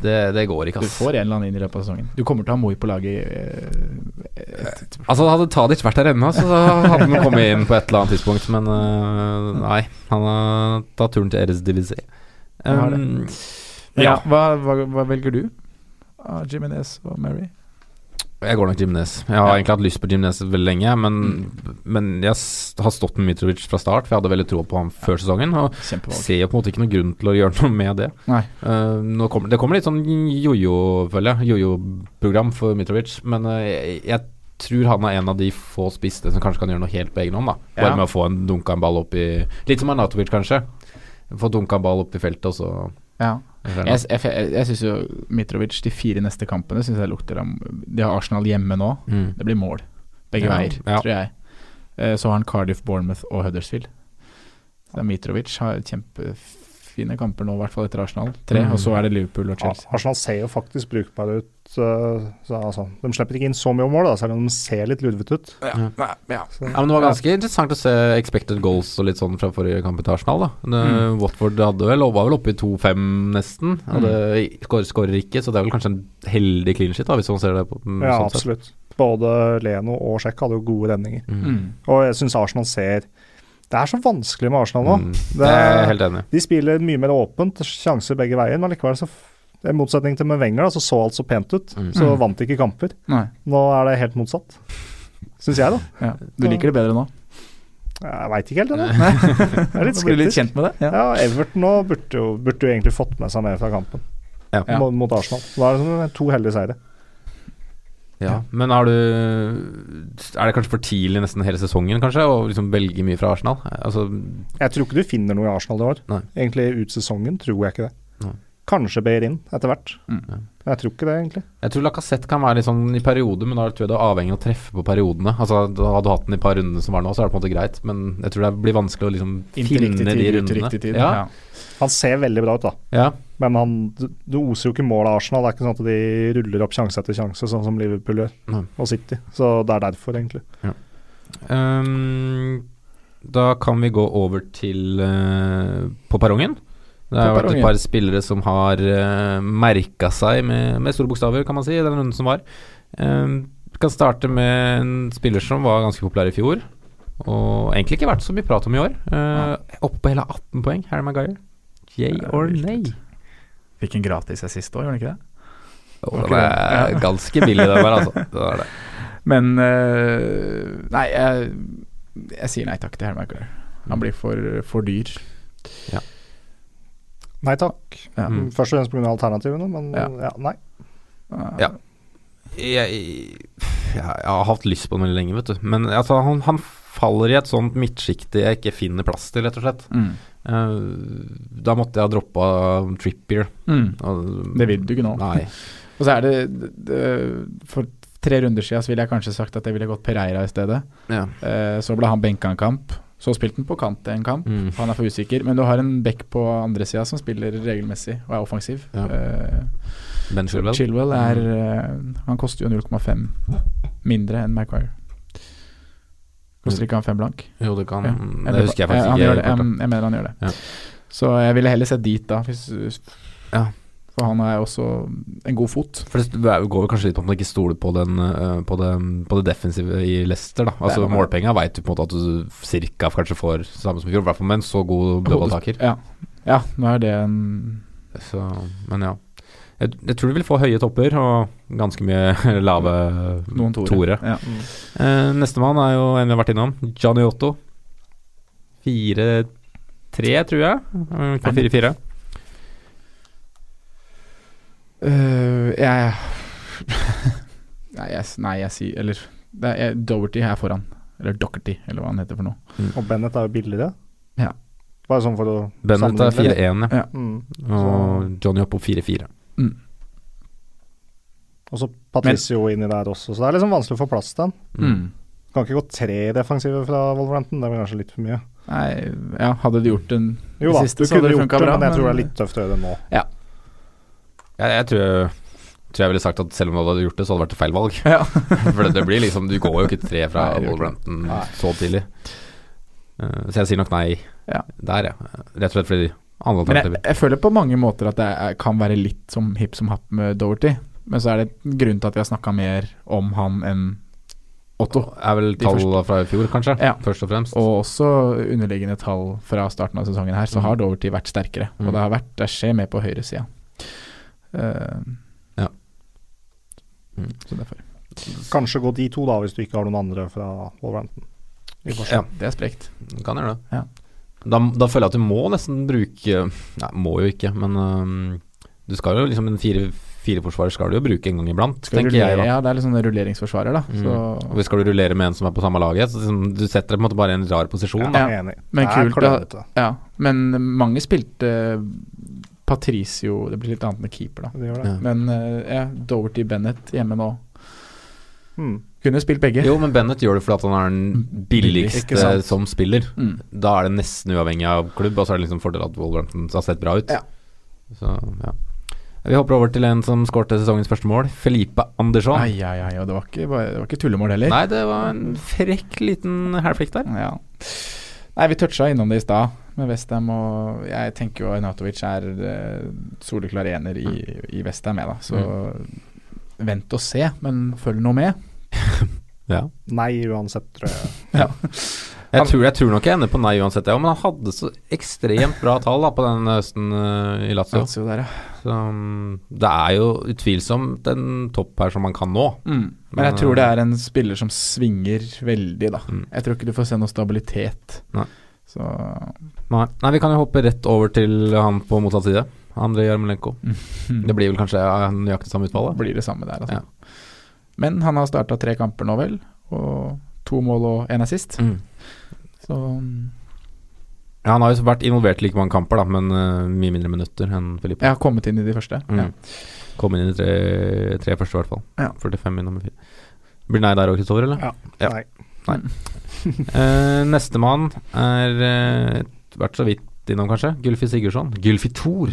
A: det, det går ikke,
D: Du
A: ass.
D: får en eller annen inn i løpet av sesongen. Du kommer til å ha Moi på laget i eh, et,
A: Altså, hadde Tadic vært der ennå, så hadde han kommet inn på et eller annet tidspunkt, men eh, nei. Han har tatt turen til Eres Divise.
D: Han har det.
A: Um,
D: Ja.
A: ja.
D: Hva, hva, hva velger du av Jiminez og Mary?
A: Jeg går nok Jimenez. Jeg har egentlig hatt lyst på Jimenez veldig lenge, men,
D: Mm.
A: men jeg s- har stått med Mitrovic fra start, for jeg hadde veldig tro på ham før sesongen. Og
D: Kjempevalg.
A: ser jo på en måte ikke noen grunn til å gjøre noe med det.
D: Nei.
A: Eh, nå kommer, det kommer litt sånn jojo, føler jeg. Jojo-program for Mitrovic. Men eh, jeg, jeg tror han er en av de få spiste som kanskje kan gjøre noe helt på egen hånd. da Bare
D: Ja.
A: med å få en dunka en ball opp i Litt som Arnatovic, kanskje. Få dunka en ball opp i feltet, og så
D: Ja.
A: eller noe.
D: Jeg, jeg, jeg, jeg syns jo Mitrovic de fire neste kampene synes jeg lukter ham De har Arsenal hjemme nå.
A: mm.
D: Det blir mål begge
A: Ja,
D: veier,
A: ja.
D: tror jeg. Eh, Så har han Cardiff, Bournemouth og Huddersfield. Så Mitrovic har kjempefine kamper nå, i hvert fall etter Arsenal. Tre,
A: Mm.
D: og så er det Liverpool og Chelsea.
E: Arsenal ser jo faktisk brukbare ut. eh, Så, altså, de slipper ikke inn så mye mål, da, selv om de ser litt lurvete ut. Så,
A: Ja, men Det var ganske interessant å se expected goals og litt sånn fra forrige kamp i Arsenal. da
E: Mm.
A: Det- Watford hadde vel, var vel oppe i 2-5 nesten. Hadde- skår- Skårer ikke, så det er vel kanskje en heldig clean shit, da, hvis man ser det på mm,
E: ja,
A: sånn sett.
E: absolutt. Både Leno og Sjekk hadde jo gode redninger.
D: Mm.
E: Og jeg syns Arsenal ser Det er så vanskelig med Arsenal nå.
A: Mm.
E: Det-
A: Det er jeg helt enig i.
E: De spiller mye mer åpent, sjanser begge veier, men likevel så f- i motsetning til med Wenger, da, så så alt så pent ut.
A: Mm.
E: Så
D: Mm.
E: vant de ikke kamper.
D: Nei,
E: Nå er det helt motsatt. Syns jeg, da.
D: ja. Du liker det bedre nå?
E: Jeg veit ikke helt ennå.
D: Nei.
E: Jeg er litt
D: Du blir litt
E: skeptisk.
D: kjent med det? Ja.
E: Ja, Everton nå burde jo, burde jo egentlig fått med seg mer fra kampen
A: Ja.
E: mot- mot Arsenal. Så da er det som to heldige seire.
A: Ja. Men har du Er det kanskje for tidlig nesten hele sesongen, kanskje, å liksom velge mye fra Arsenal? Altså,
E: Jeg tror ikke du finner noe i Arsenal i år.
A: Nei.
E: Egentlig ut sesongen tror jeg ikke det.
A: Nei.
E: Kanskje Beirin etter hvert.
D: Mm.
E: Men jeg tror ikke det, egentlig.
A: jeg tror Lacassette kan være litt sånn i perioder, men da tror jeg du er avhengig av å treffe på periodene. Altså, da Hadde du hatt den i par rundene som var nå, så er det på en måte greit, men jeg tror det blir vanskelig å liksom
D: Inn til
A: finne
D: riktig
A: de
D: tid, ut til
A: rundene.
D: riktig tid.
A: Ja,
D: Ja.
E: Han ser veldig bra ut, da.
A: ja.
E: Men han, du, du oser jo ikke mål av Arsenal. Det er ikke sånn at de ruller opp sjanse etter sjanse, sånn som Liverpool gjør,
A: Nei.
E: og City. Så det er derfor, egentlig.
A: Ehm, da kan vi gå over til eh, på perrongen. Det har
D: På
A: jo vært
D: perrongen.
A: et par spillere som har uh, merka seg med, med store bokstaver, kan man si, i den runden som var. Ehm, vi kan starte med en spiller som var ganske populær i fjor, og egentlig ikke vært så mye prat om i år. Uh, Oppe på hele 18 poeng, Harry Maguire. Yay
D: Det er
A: or
D: vilt
A: nay?
D: ut. Fikk en gratis assist òg, gjorde han ikke det?
A: Oh,
D: Ok,
A: den er
D: ja.
A: ganske billig, den der, altså. Den er det.
D: Men eh, Nei, jeg, jeg sier nei takk til Harry Maguire. Han blir for, for dyr.
E: Nei takk.
D: Ja.
A: Mm.
E: Først og fremst pga. alternativene, men ja.
D: Ja.
E: nei.
A: Ja. jeg, jeg, jeg har hatt lyst på den veldig lenge, vet du. Men altså, han, han faller i et sånt midtsjikte jeg ikke finner plass til, rett og slett.
D: Mm.
A: Eh, da måtte jeg ha droppa Trippier.
D: Mm.
A: og-
D: Det vil du ikke nå.
A: Nei.
D: Og så er det, det For tre runder siden så ville jeg kanskje sagt at jeg ville gått Pereira i stedet.
A: Ja.
D: Eh, Så ble han benka en kamp. Så spilte han på kant en kamp.
A: Mm.
D: Han er for usikker. Men du har en back på andre sida som spiller regelmessig og er offensiv.
A: Ja.
D: Eh,
A: Ben Chilwell. Mm.
D: Chilwell er eh, Han koster jo 0,5 mindre enn Maguire. Koster ikke han fem blank?
A: Jo, det kan
D: Ja.
A: Mm. Det
D: lurer på-
A: husker jeg faktisk
D: han
A: ikke.
D: Gjør det. Um,
A: helt, da.
D: Jeg, jeg mener han gjør det.
A: Ja.
D: Så jeg ville heller sett dit, da. Hvis,
A: Ja.
D: For han er også en god fot.
A: For det går vel kanskje litt på om man ikke stoler på, den, eh, på, det, på det defensive i Leicester, da. Altså
D: Det er noe med
A: Målpenga veit du på en måte at du cirka kanskje får samme som i fjor, i hvert fall med en så god dobbelttaker.
D: Ja. ja, nå er det en
A: Så, men ja. Jeg, jeg tror du vil få høye topper og ganske mye lave
D: noen toere.
A: Toere.
D: Ja.
A: Eh, Nestemann er jo en vi har vært innom. Johnny Otto. 4-3, tror jeg. Eh, På 4-4.
D: Øh, jeg nei, jeg s- Nei, jeg sier Eller det er, jeg- Doherty er foran. Eller Doherty, eller hva han heter for noe.
E: Og Bennett er jo billigere.
D: Ja.
E: Bare sånn for å
A: Bennett er
E: sammenligne.
A: 4-1, ja.
E: Mm.
A: Og Johnny Otto 4-4.
E: Og så Patricio inni der også, så det er liksom vanskelig å få plass til han.
A: Mm.
E: Kan ikke gå tre defensive fra Wolverhampton, det blir kanskje litt for mye.
D: Nei, ja, hadde de gjort en
E: Jo
D: Det
E: da,
D: siste
E: du
D: så hadde
E: kunne
D: det
E: gjort
D: funket
E: det,
D: bra,
E: men jeg tror det
D: men-
E: er litt tøft å gjøre det nå.
A: Jeg, jeg tror, tror jeg ville sagt at selv om du hadde gjort det, så hadde det vært et feil valg.
D: Ja.
A: For det, det blir liksom Du går jo ikke tre fra
D: Nei, det gjør ikke
A: Wolverhampton
E: Nei.
A: så tidlig. Eh, så jeg sier nok nei
D: Ja.
A: der, ja. Rett og slett fordi andre
D: Men jeg,
A: alternativer.
D: jeg føler på mange måter at det er, kan være litt som hipp som happ med Doherty. Men så er det en grunn til at vi har snakka mer om han enn Otto.
A: Er vel
D: de
A: tallene fra i fjor, kanskje.
D: Ja.
A: Først og fremst.
D: Og også underliggende tall fra starten av sesongen her, så
A: Mm.
D: har Doverty vært sterkere.
A: Mm.
D: Og det har vært, det skjer mer på høyresida. Uh,
A: Ja. Mm.
D: Så derfor.
E: Kanskje gå de to, da, hvis du ikke har noen andre fra Wolverhampton. I forsvar.
A: Ja.
D: Det er sprekt.
A: Du Kan gjøre det.
D: Ja.
A: Da, da føler jeg at du må nesten bruke Nei, må jo ikke, men øhm, du skal jo liksom en fire, fireforsvarer skal du jo bruke en gang iblant,
D: Skal
A: tenker jeg
D: rullere-
A: da.
D: Ja, det er litt sånn rulleringsforsvarer, da.
A: Mm. Og
D: Så,
A: hvis skal du rullere med en som er på samme laget, så liksom, du setter deg på en måte bare i en rar posisjon.
E: Jeg
A: Da.
E: er enig.
D: Men
E: det er
D: kult, da.
E: klønete.
D: ja. Men mange spilte eh, Patricio Det blir litt annet med keeper, da.
E: Det gjør det.
A: Ja.
D: Men eh, ja, Doverty Bennett hjemme nå.
E: Hmm.
D: Kunne spilt begge.
A: Jo, men Bennett gjør det fordi at han er den billigste
E: Ikke sant.
A: som spiller.
D: Mm.
A: Da er det nesten uavhengig av klubb, og så er det liksom fordel at Wolverhampton har sett bra ut.
E: Ja.
A: Så, ja. Vi hopper over til en som skårte sesongens første mål, Felipe Andersson.
D: Ai, ai, ai, og det var ikke, bare- det var ikke tullemål heller.
A: Sånn. Nei, det var en frekk liten hælflikk der.
D: Ja. Nei, vi toucha innom det i stad med Westham, og jeg tenker jo Arnautovic er eh, soleklar ener i, i Westham, jeg, da. Så
A: Mm.
D: vent og se, men følg nå med.
A: Ja.
E: Nei, uansett, tror jeg.
A: Jeg tror, jeg tror nok jeg ender på nei uansett, ja, men han hadde så ekstremt bra tall da, på den høsten eh, i Lazio.
D: Lazio der, ja.
A: Så mm, det er jo utvilsomt en topp her som man kan nå.
D: Mm. Men jeg tror det er en spiller som svinger veldig, da.
A: eh, Mm.
D: Jeg tror ikke du får se noe stabilitet.
A: Nei.
D: Så
A: Nei, nei vi kan jo hoppe rett over til han på motsatt side. Andrej Jarmolenko. Det blir vel kanskje eh, nøyaktig samme utfall, da.
D: blir det samme der, altså. Men han har starta tre kamper nå, vel. Og to mål og én assist.
A: Mm.
D: Så
A: Ja, han har jo vært involvert i like mange kamper, da, men eh, mye mindre minutter enn Filippe.
D: jeg har kommet inn i de første.
A: Mm.
D: Ja.
A: Kom inn i de tre, tre første, i hvert fall.
D: Ja.
A: 45 i nummer fire. Blir det nei der òg, Kristoffer, eller? Ja.
E: Nei.
A: Uh, Nestemann er eh, vært så vidt innom, kanskje. Gylfi Sigurdsson. Gylfi Thor.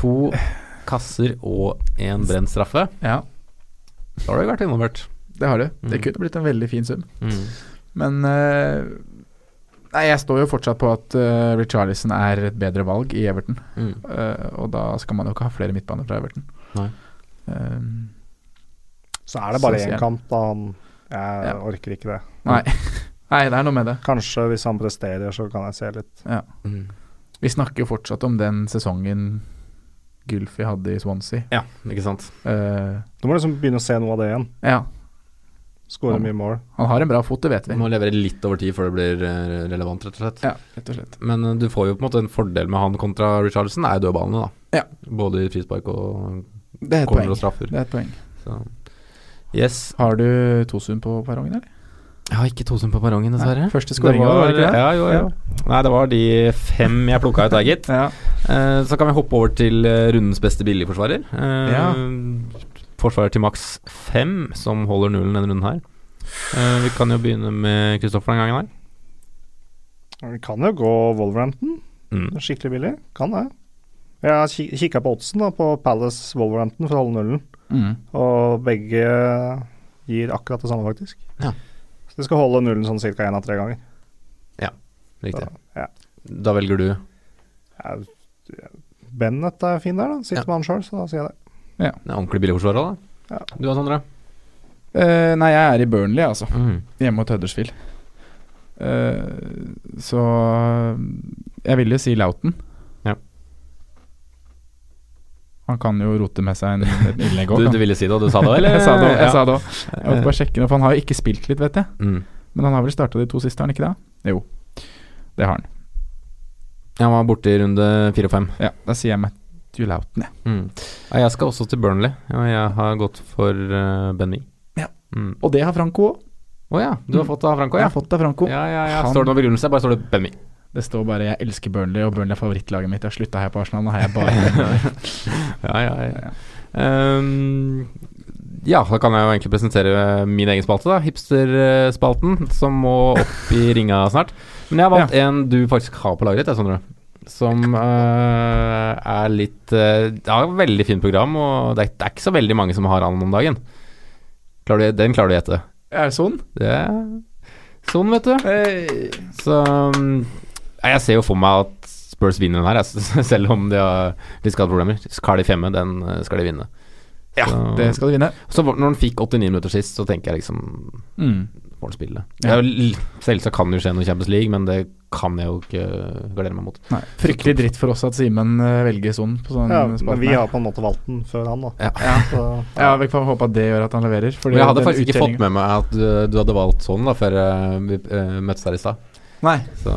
A: To kasser og en brent straffe.
D: ja.
A: Da har du vært involvert.
D: Det har du. Det
A: Mm.
D: kunne blitt en veldig fin sum. Men eh, Nei, jeg står jo fortsatt på at uh, Richarlison er et bedre valg i Everton.
A: Mm.
D: Eh, og da skal man jo ikke ha flere midtbaner fra Everton.
A: Nei.
D: Eh,
E: Så er det bare
D: Så sier
E: én
D: jeg.
E: kamp, da. Han- Jeg
D: Ja.
E: orker ikke det.
D: nei. nei, det er noe med det.
E: Kanskje hvis han presterer, så kan jeg se litt.
A: Mm.
D: Vi snakker jo fortsatt om den sesongen Gylfi hadde i Swansea.
A: Ja, ikke sant.
D: Eh,
E: Du må liksom begynne å se noe av det igjen.
D: ja,
E: Skåre
D: Han-
E: mye mål.
D: han har en bra fot, det vet
A: Du
D: vi.
A: må levere litt over tid før det blir eh, relevant, rett og slett.
D: Ja, rett og slett.
A: Men eh, du får jo på en måte en fordel med han kontra Richarlison, er jo dødballene, da.
D: Ja.
A: Både i frispark og
D: Det er et
A: corner
D: poeng.
A: og straffer.
D: Det er et poeng.
A: Så. Yes.
D: Har du Tosun på perrongen, eller?
A: Jeg har ikke Tosen på perrongen, dessverre.
D: Nei, første scoringen, var det ikke det?
A: Ja, jo, jo. Nei, det var de fem jeg plukka ut der, gitt.
D: Ja.
A: Eh, så kan vi hoppe over til eh, rundens beste billigforsvarer. Eh,
D: Ja.
A: Forsvarer til maks fem, som holder nullen denne runden her. Eh, vi kan jo begynne med Kristoffer den gangen her.
E: Vi kan jo gå Wolverhampton.
A: Mm.
E: Skikkelig billig. Kan det. Jeg har kikka på oddsen da, på Palace Wolverhampton for å holde nullen,
D: Mm.
E: og begge gir akkurat det samme, faktisk.
A: Ja.
E: Så de skal holde nullen sånn ca. én av tre ganger.
A: Riktig.
E: Ja.
A: Da velger du
E: Ja, Bennett er fin der, da. Sitter
A: Ja.
E: med han sjøl, så da sier jeg det.
A: den ordentlige billigforsvareren, da.
E: Ja.
A: Du da, Sondre?
D: Eh, nei, jeg er i Burnley, altså. Hjemme mot Huddersfield. Eh, så eh, jeg vil jo si Lauten.
A: Ja.
D: Han kan jo rote med seg en, et innlegg
A: Du,
D: òg.
A: du ville si det, og du sa det, eller?
D: Jeg sa det òg. Jeg,
A: Ja.
D: sa det også. jeg måtte bare sjekke det, for han har jo ikke spilt litt, vet jeg.
A: Mm.
D: Men han har vel starta de to siste, har han ikke det? Jo, det har han.
A: Han var borte i runde fire og fem.
D: Ja, Da sier jeg Matthew Lauten, jeg.
A: Mm. Ja, jeg skal også til Burnley, og jeg har gått for uh, Ben Mee.
D: Ja.
A: Mm.
D: Og det har Franco òg.
A: Å ja, du har fått det av Franco,
D: Jeg
A: ja.
D: har fått det av Franco.
A: Ja, ja, ja.
D: Han-
A: Står det noen begrunnelse? Bare står det Ben Mee.
D: Det står bare 'jeg elsker Burnley', og Burnley er favorittlaget mitt. Jeg har slutta her på Arsenal, nå har jeg bare
A: Ja, ja, ja. Ehm, ja, da kan jeg jo egentlig presentere min egen spalte, da. Hipsterspalten, som må opp i ringa snart. Men jeg har valgt en du faktisk har på laget ditt, jeg, Sondre. Som eh, er litt eh, Det har et veldig fint program, og det er, det er ikke så veldig mange som har han om dagen. Klarer du, den klarer du å gjette.
D: Er det sånn?
A: Det er sånn, vet du.
D: Hey.
A: Så mm, nei, jeg ser jo for meg at Spurs vinner den her, jeg, s- selv om de har litt skadeproblemer. Skal de femme, den eh, skal de vinne.
D: Ja,
A: Så-
D: det skal du vinne. Mm.
A: Så var- når han fikk 89 minutter sist, så tenker jeg liksom Blackburn spille. Det er jo l- Selvsagt kan det jo skje noe i Champions League, men det kan jeg jo ikke gardere meg mot.
D: Nei, fryktelig dritt for oss at Simen eh, velger sånn på sånn
E: Ja, men
D: spalten
E: vi
D: her.
E: har på en måte valgt den før han, da.
A: Ja.
E: Så,
D: Ja, vi får håpe at det gjør at han leverer. fordi
A: Men jeg hadde
D: den
A: faktisk ikke
D: sorteringen-
A: fått med meg at du, du hadde valgt sånn da før eh, vi eh, møttes her i stad.
D: Nei,
A: Så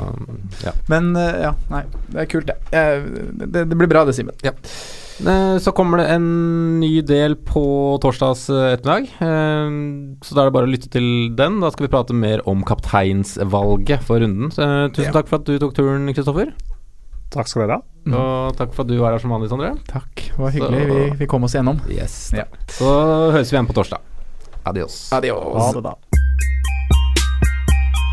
A: ja.
D: men eh, ja, nei. Det er kult, det. Eh, Det, det blir bra det, Simen.
A: Eh, Så kommer det en ny del på torsdags eh, ettermiddag. Eh, Så da er det bare å lytte til den. Da skal vi prate mer om kapteinsvalget for runden. Så, eh, tusen
D: Ja.
A: takk for at du tok turen, Kristoffer.
E: takk skal dere ha.
D: Mm.
A: Og takk for at du var her som vanlig, Sondre.
D: Takk, det var hyggelig. Vi, vi kom oss igjennom.
A: Yes.
D: Ja.
A: Så høres vi igjen på torsdag. Adios.
E: Ha det, da.